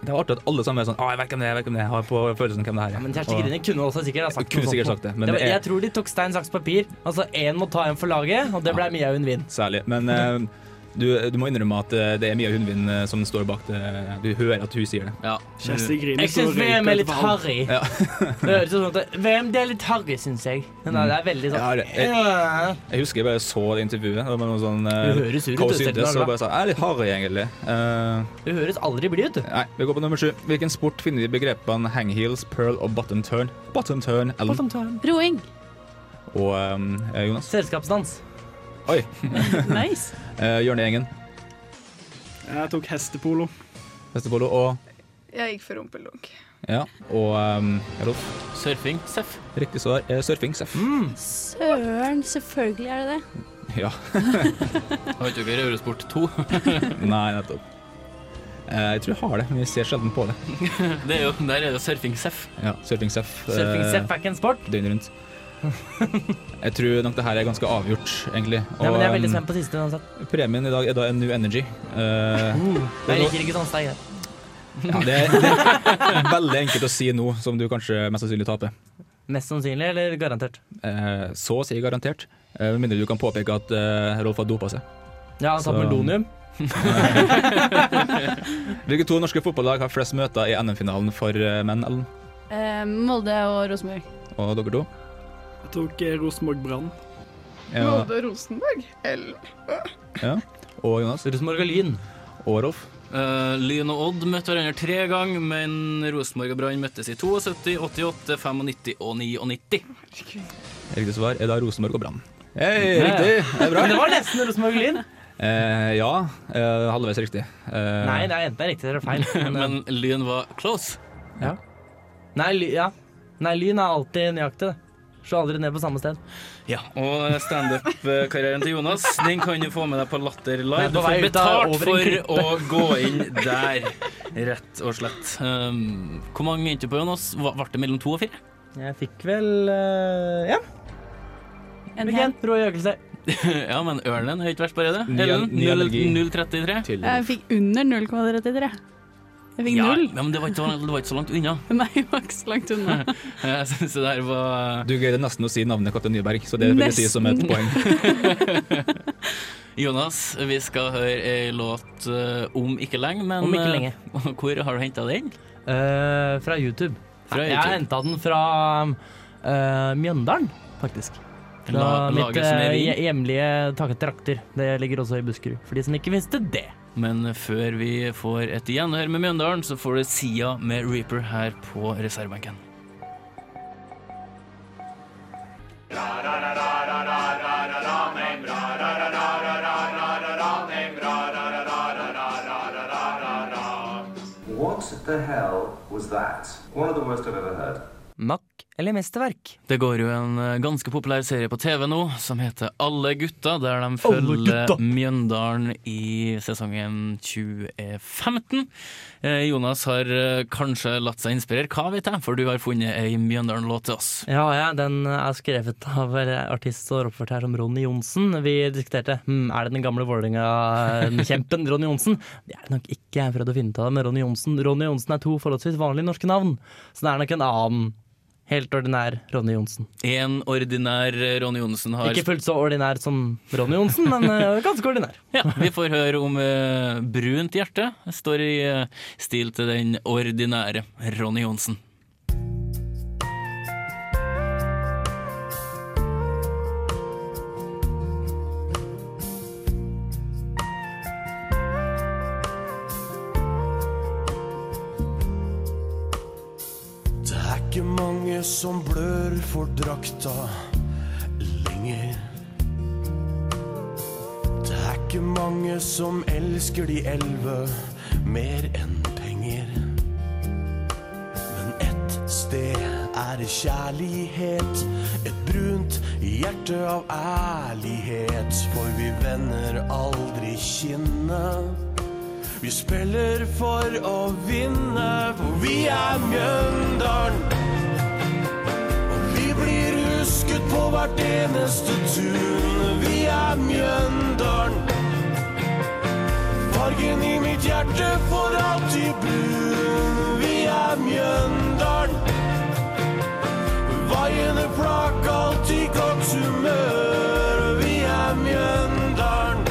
[SPEAKER 8] Det var artig at alle sammen er sånn Å, jeg vet ikke hvem det er, jeg vet ikke hvem det er. Jeg har på følelsen hvem det her er.
[SPEAKER 5] Men Kjersti
[SPEAKER 8] Og-
[SPEAKER 5] Grini kunne også sikkert ha sagt
[SPEAKER 8] Kunne
[SPEAKER 5] noe
[SPEAKER 8] sikkert
[SPEAKER 5] sånt.
[SPEAKER 8] sagt det, men det
[SPEAKER 5] var-
[SPEAKER 8] er-
[SPEAKER 5] Jeg tror de tok stein, saks, papir. Altså én må ta en for laget, og det ble Mia Hundvin.
[SPEAKER 8] Særlig. Men eh, du, du må innrømme at eh, det er Mia Hundvin eh, som står bak det. Du hører at hun sier det.
[SPEAKER 4] Ja.
[SPEAKER 10] Kjersti Grine
[SPEAKER 5] Jeg syns VM er litt harry.
[SPEAKER 8] Ja.
[SPEAKER 5] Det høres ut som at VM det er litt harry, syns jeg. Men nei, det er veldig sånn
[SPEAKER 8] Ja, det-
[SPEAKER 5] Ja.
[SPEAKER 8] Jeg husker jeg bare så det intervjuet. Det var noe sånn eh,
[SPEAKER 5] Du høres sur ut,
[SPEAKER 8] hva hun
[SPEAKER 5] du, selv
[SPEAKER 8] syntes, og
[SPEAKER 5] om du er glad.
[SPEAKER 8] bare sa Jeg er litt harry, egentlig. Eh,
[SPEAKER 5] Du høres aldri blid ut.
[SPEAKER 8] nei, vi går på nummer sju. Hvilken sport finner vi i begrepene hangheels, pearl og bottom turn? Bottom turn, Ellen
[SPEAKER 5] sånn
[SPEAKER 6] Roing.
[SPEAKER 8] og eh, Jonas.
[SPEAKER 5] Selskapsdans.
[SPEAKER 8] Oi.
[SPEAKER 6] Nice.
[SPEAKER 8] Uh, Hjørnegjengen,
[SPEAKER 10] Jeg tok hestepolo.
[SPEAKER 8] Vestepollo og
[SPEAKER 7] Jeg gikk for rumpeldunk.
[SPEAKER 8] ja, og eh, Rolf.
[SPEAKER 4] Surfing. Seff.
[SPEAKER 8] Riktig svar er surfing. Seff.
[SPEAKER 5] Mm.
[SPEAKER 6] Søren, selvfølgelig er det det.
[SPEAKER 8] Ja.
[SPEAKER 4] Har ikke dere Eurosport 2?
[SPEAKER 8] Nei, nettopp. Eh, jeg tror jeg har det, men vi ser sjelden på det.
[SPEAKER 4] Det er jo, der er det surfing seff.
[SPEAKER 8] Ja, surfing seff. eh,
[SPEAKER 5] Surfing seff er ikke en sport.
[SPEAKER 8] døgnet rundt. Jeg tror nok det her er ganske avgjort, egentlig. Og,
[SPEAKER 5] Nei, men jeg er veldig
[SPEAKER 8] um,
[SPEAKER 5] spent på siste uansett.
[SPEAKER 8] premien i dag er da en New Energy. Eh,
[SPEAKER 5] Jeg liker ikke sånn stein. jeg.
[SPEAKER 8] ja, det, er, det er veldig enkelt å si nå, som du kanskje mest sannsynlig taper.
[SPEAKER 5] Mest sannsynlig, eller garantert?
[SPEAKER 8] Eh, så å si garantert. Eh, Med mindre du kan påpeke at eh, Rolf har dopa seg.
[SPEAKER 5] Ja, han sa
[SPEAKER 8] Så-
[SPEAKER 5] melonium.
[SPEAKER 8] Hvilke to norske fotballag har flest møter i NM-finalen for eh, menn, Ellen?
[SPEAKER 6] Eh, Molde og Rosenborg.
[SPEAKER 8] Og dere to?
[SPEAKER 10] Jeg tok eh, Rosenborg Brann.
[SPEAKER 8] Ja,
[SPEAKER 7] Molde og Rosenborg. Eller
[SPEAKER 8] ja. Og Jonas?
[SPEAKER 5] Rosenborg og Lyn.
[SPEAKER 8] Og Rolf?
[SPEAKER 4] Eh, Lyn og Odd møtte hverandre tre ganger, men Rosenborg og Brann møttes i 72, 88, 95 og 99.
[SPEAKER 8] Riktig svar er da Rosenborg og Brann. Hei, riktig! Det er bra.
[SPEAKER 5] Men det var nesten Rosenborg og Lyn.
[SPEAKER 8] Eh, ja, eh, halvveis riktig. Eh,
[SPEAKER 5] Nei, det er enten riktig eller feil. Men, eh,
[SPEAKER 4] Men Lyn var close.
[SPEAKER 5] nei, ly, ja. nei, Lyn er alltid nøyaktig. det. Slå aldri ned på samme sted.
[SPEAKER 4] Ja, Og standup-karrieren til Jonas Den kan du få med deg på Latter Live. Du
[SPEAKER 5] Det er på
[SPEAKER 4] får
[SPEAKER 5] vei ut av-
[SPEAKER 4] betalt
[SPEAKER 5] over en
[SPEAKER 4] for å gå inn der, rett og slett. Um, hvor mange endte du på, Jonas? Hva- Ble det mellom to og fire?
[SPEAKER 5] Jeg fikk vel eh, Ja,
[SPEAKER 6] En
[SPEAKER 5] fikk
[SPEAKER 6] hel.
[SPEAKER 5] en rå økelse.
[SPEAKER 4] Ja, men Ørnen er ikke verst på redet.
[SPEAKER 8] Ny-
[SPEAKER 4] Ellen,
[SPEAKER 8] ny energi.
[SPEAKER 4] 033.
[SPEAKER 8] Til
[SPEAKER 5] Eh,
[SPEAKER 6] Jeg fikk under 0,33. Jeg fikk
[SPEAKER 4] Ja,
[SPEAKER 6] null.
[SPEAKER 4] ja, men det var, ikke, så- det var ikke så langt unna.
[SPEAKER 6] Nei, jeg var ikke så langt unna.
[SPEAKER 4] Jeg syns det der var eh,
[SPEAKER 8] Du greide nesten å si navnet Kaptein Nyberg, så det vil jeg si som et
[SPEAKER 6] Nesten.
[SPEAKER 8] poeng.
[SPEAKER 4] Jonas, vi skal høre ei låt eh, om ikke lenge, men
[SPEAKER 5] Om ikke lenge.
[SPEAKER 4] eh, Hvor har du henta den?
[SPEAKER 5] Eh, fra YouTube.
[SPEAKER 4] Fra
[SPEAKER 5] Jeg
[SPEAKER 4] YouTube.
[SPEAKER 5] henta den fra eh, Mjøndalen, faktisk. Fra
[SPEAKER 4] La,
[SPEAKER 5] mitt
[SPEAKER 4] laget som er
[SPEAKER 5] eh,
[SPEAKER 4] vin.
[SPEAKER 5] hje- hjemlige tak- trakter. Det ligger også i Buskerud, for de som ikke visste det.
[SPEAKER 4] Men før vi får et gjenhør med Mjøndalen, så får du Sia med Reaper her på reservebenken.
[SPEAKER 12] What the hell was that? One of the worst I've ever heard.
[SPEAKER 5] Nok eller mesterverk?
[SPEAKER 4] Det går jo en eh, ganske populær serie på TV nå som heter Alle gutta, der de
[SPEAKER 5] Alle
[SPEAKER 4] følger
[SPEAKER 5] gutta!
[SPEAKER 4] Mjøndalen i sesongen 2015. Eh, Jonas har eh, kanskje latt seg inspirere, hva vet jeg, for du har funnet ei Mjøndalen-låt til oss.
[SPEAKER 5] Ja, ja, den er skrevet av en artist og oppført her som Ronny Johnsen. Vi diskuterte hm, er det den gamle Vålerenga-kjempen Ronny Johnsen. Det er det nok ikke. Jeg prøvde å finne ut av det med Ronny Johnsen. Ronny Johnsen er to forholdsvis vanlige norske navn, så det er nok en annen helt ordinær Ronny Johnsen.
[SPEAKER 4] En ordinær eh, Ronny Johnsen har
[SPEAKER 5] Ikke fullt så ordinær som Ronny Johnsen, men eh, ganske ordinær.
[SPEAKER 4] Ja, vi får høre om eh, Brunt hjerte. Det Står i eh, stil til den ordinære Ronny Johnsen.
[SPEAKER 12] Det er ikke mange som blør for drakta lenger. Det er ikke mange som elsker de elleve mer enn penger. Men ett sted er det kjærlighet, et brunt hjerte av ærlighet. For vi vender aldri kinnet. Vi spiller for å vinne, for vi er Mjøndalen. Og vi blir husket på hvert eneste tun. Vi er Mjøndalen. Fargen i mitt hjerte for alltid brun. Vi er Mjøndalen. Vaiende flak, alltid godt humør. Vi er Mjøndalen.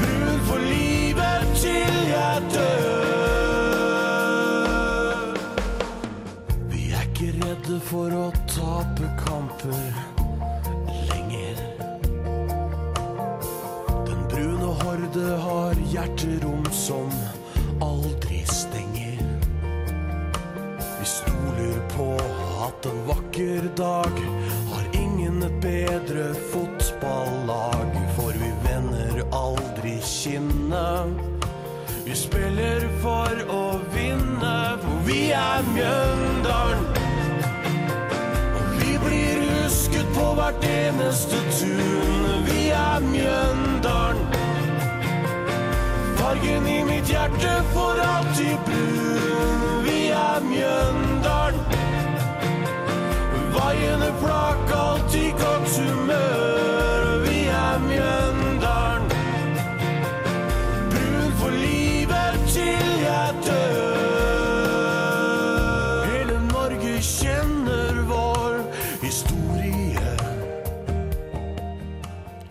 [SPEAKER 12] Brun for livet til jeg dør. Vi er ikke redde for å tape kamper lenger. Den brune horde har hjerterom som aldri stenger. Vi stoler på at en vakker dag har ingen et bedre fotballag. For vi vender aldri kinnet. Vi spiller for å vinne, for vi er Mjøndalen. Og vi blir husket på hvert eneste tun. Vi er Mjøndalen. Fargen i mitt hjerte for alltid brun. Vi er Mjøndalen. Vaiende flak, alltid godt humør. Vi er Mjøndalen. Brun for livet til jeg dør. Hele Norge kjenner vår historie.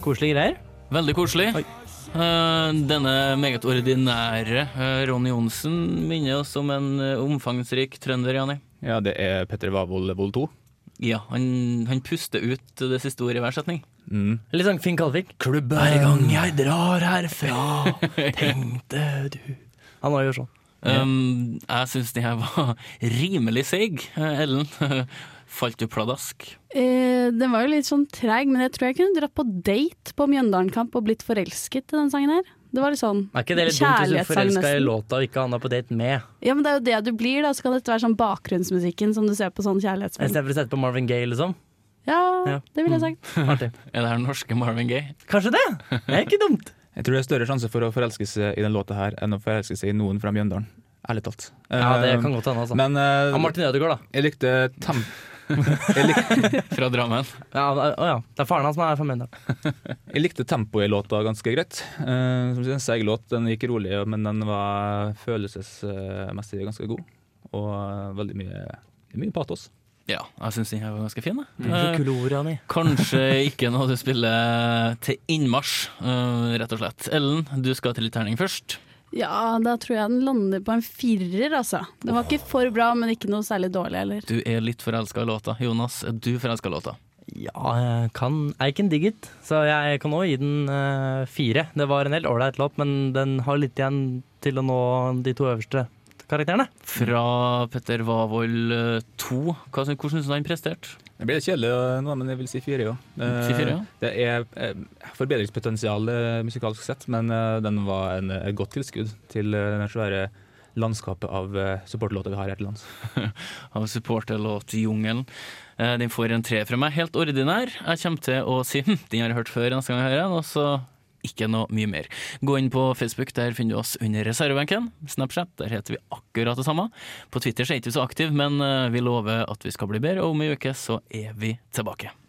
[SPEAKER 5] Koselige greier.
[SPEAKER 4] Veldig koselig. Eh, denne meget ordinære eh, Ronny Johnsen minner oss om en eh, omfangsrik trønder, Jani.
[SPEAKER 8] Ja, det er Petter Wavold Vold 2.
[SPEAKER 4] Ja, han, han puster ut det siste ordet i hver setning.
[SPEAKER 8] Mm.
[SPEAKER 5] Litt sånn Finn Kalvik.
[SPEAKER 8] Klubben
[SPEAKER 4] Hver gang
[SPEAKER 5] jeg drar herfra, tenkte du Han har jo sånn.
[SPEAKER 4] Um, jeg syns de her var rimelig seig, eh, Ellen. Falt du pladask?
[SPEAKER 6] Eh, den var jo litt sånn treig, men jeg tror jeg kunne dratt på date på Mjøndalenkamp og blitt forelsket i den sangen her. Det var litt sånn
[SPEAKER 5] Er ikke det litt dumt hvis du
[SPEAKER 6] kjærlighetssang
[SPEAKER 5] forelska i
[SPEAKER 6] nesten.
[SPEAKER 5] låta og ikke havna på date med?
[SPEAKER 6] Ja, men det er jo det du blir, da. Så kan dette være sånn bakgrunnsmusikken som du ser på sånn kjærlighetsfilm.
[SPEAKER 5] Istedenfor å sette på Marvin Gaye, liksom?
[SPEAKER 6] Ja,
[SPEAKER 5] Ja. Mm.
[SPEAKER 6] det ville jeg sagt.
[SPEAKER 4] Artig. er det her norske Marvin Gaye?
[SPEAKER 5] Kanskje det? Det er ikke dumt.
[SPEAKER 8] Jeg tror det er større sjanse for å forelske seg i den låta her enn å forelske seg i noen fra Mjøndalen. Ærlig talt.
[SPEAKER 5] Ja, det
[SPEAKER 8] Eh,
[SPEAKER 5] kan godt hende, altså.
[SPEAKER 8] Men eh,
[SPEAKER 5] Ja, Martin Ødegaard, da.
[SPEAKER 8] jeg likte temp... jeg, likte,
[SPEAKER 4] Fra Drammen?
[SPEAKER 5] Ja, å ja. Det er faren hans som er fra Mjøndalen.
[SPEAKER 8] jeg likte tempoet i låta ganske greit. Eh, som sagt, en seig låt. Den gikk rolig, men den var følelsesmessig ganske god. Og veldig mye, mye patos.
[SPEAKER 4] Ja, jeg syns den her var ganske fin. Da.
[SPEAKER 5] Mm.
[SPEAKER 4] Eh,
[SPEAKER 5] Kule ord, Jani.
[SPEAKER 4] Kanskje ikke noe du spiller til innmarsj, eh, rett og slett. Ellen, du skal til litt terning først.
[SPEAKER 6] Ja, da tror jeg den lander på en firer, altså. Den var ikke for bra, men ikke noe særlig dårlig heller.
[SPEAKER 4] Du er litt forelska i låta. Jonas, er du forelska i låta?
[SPEAKER 5] Ja, jeg kan I can dig it. Så jeg kan også gi den eh, fire. Det var en helt ålreit låt, men den har litt igjen til å nå de to øverste karakterene.
[SPEAKER 4] Fra Petter Wavold eh, 2. Hva, syn- hvordan syns du han presterte?
[SPEAKER 8] Det blir litt kjedelig eh, nå, men jeg vil si fire, ja. Eh,
[SPEAKER 4] Si fire, ja.
[SPEAKER 8] Det er eh, forbedringspotensial eh, musikalsk sett, men eh, den var en, eh, et godt tilskudd til eh, den svære landskapet av eh, supporterlåter vi har her til lands.
[SPEAKER 4] av supporterlåtjungelen. Eh, Den får en tre fra meg, helt ordinær. Jeg kommer til å si «Hm, den har jeg hørt før neste gang jeg hører den, og så ikke noe mye mer. Gå inn på Facebook, der finner du oss under reservebenken. Snapchat, der heter vi akkurat det samme. På Twitter så er ikke vi så aktive, men eh, vi lover at vi skal bli bedre, og om ei uke så er vi tilbake.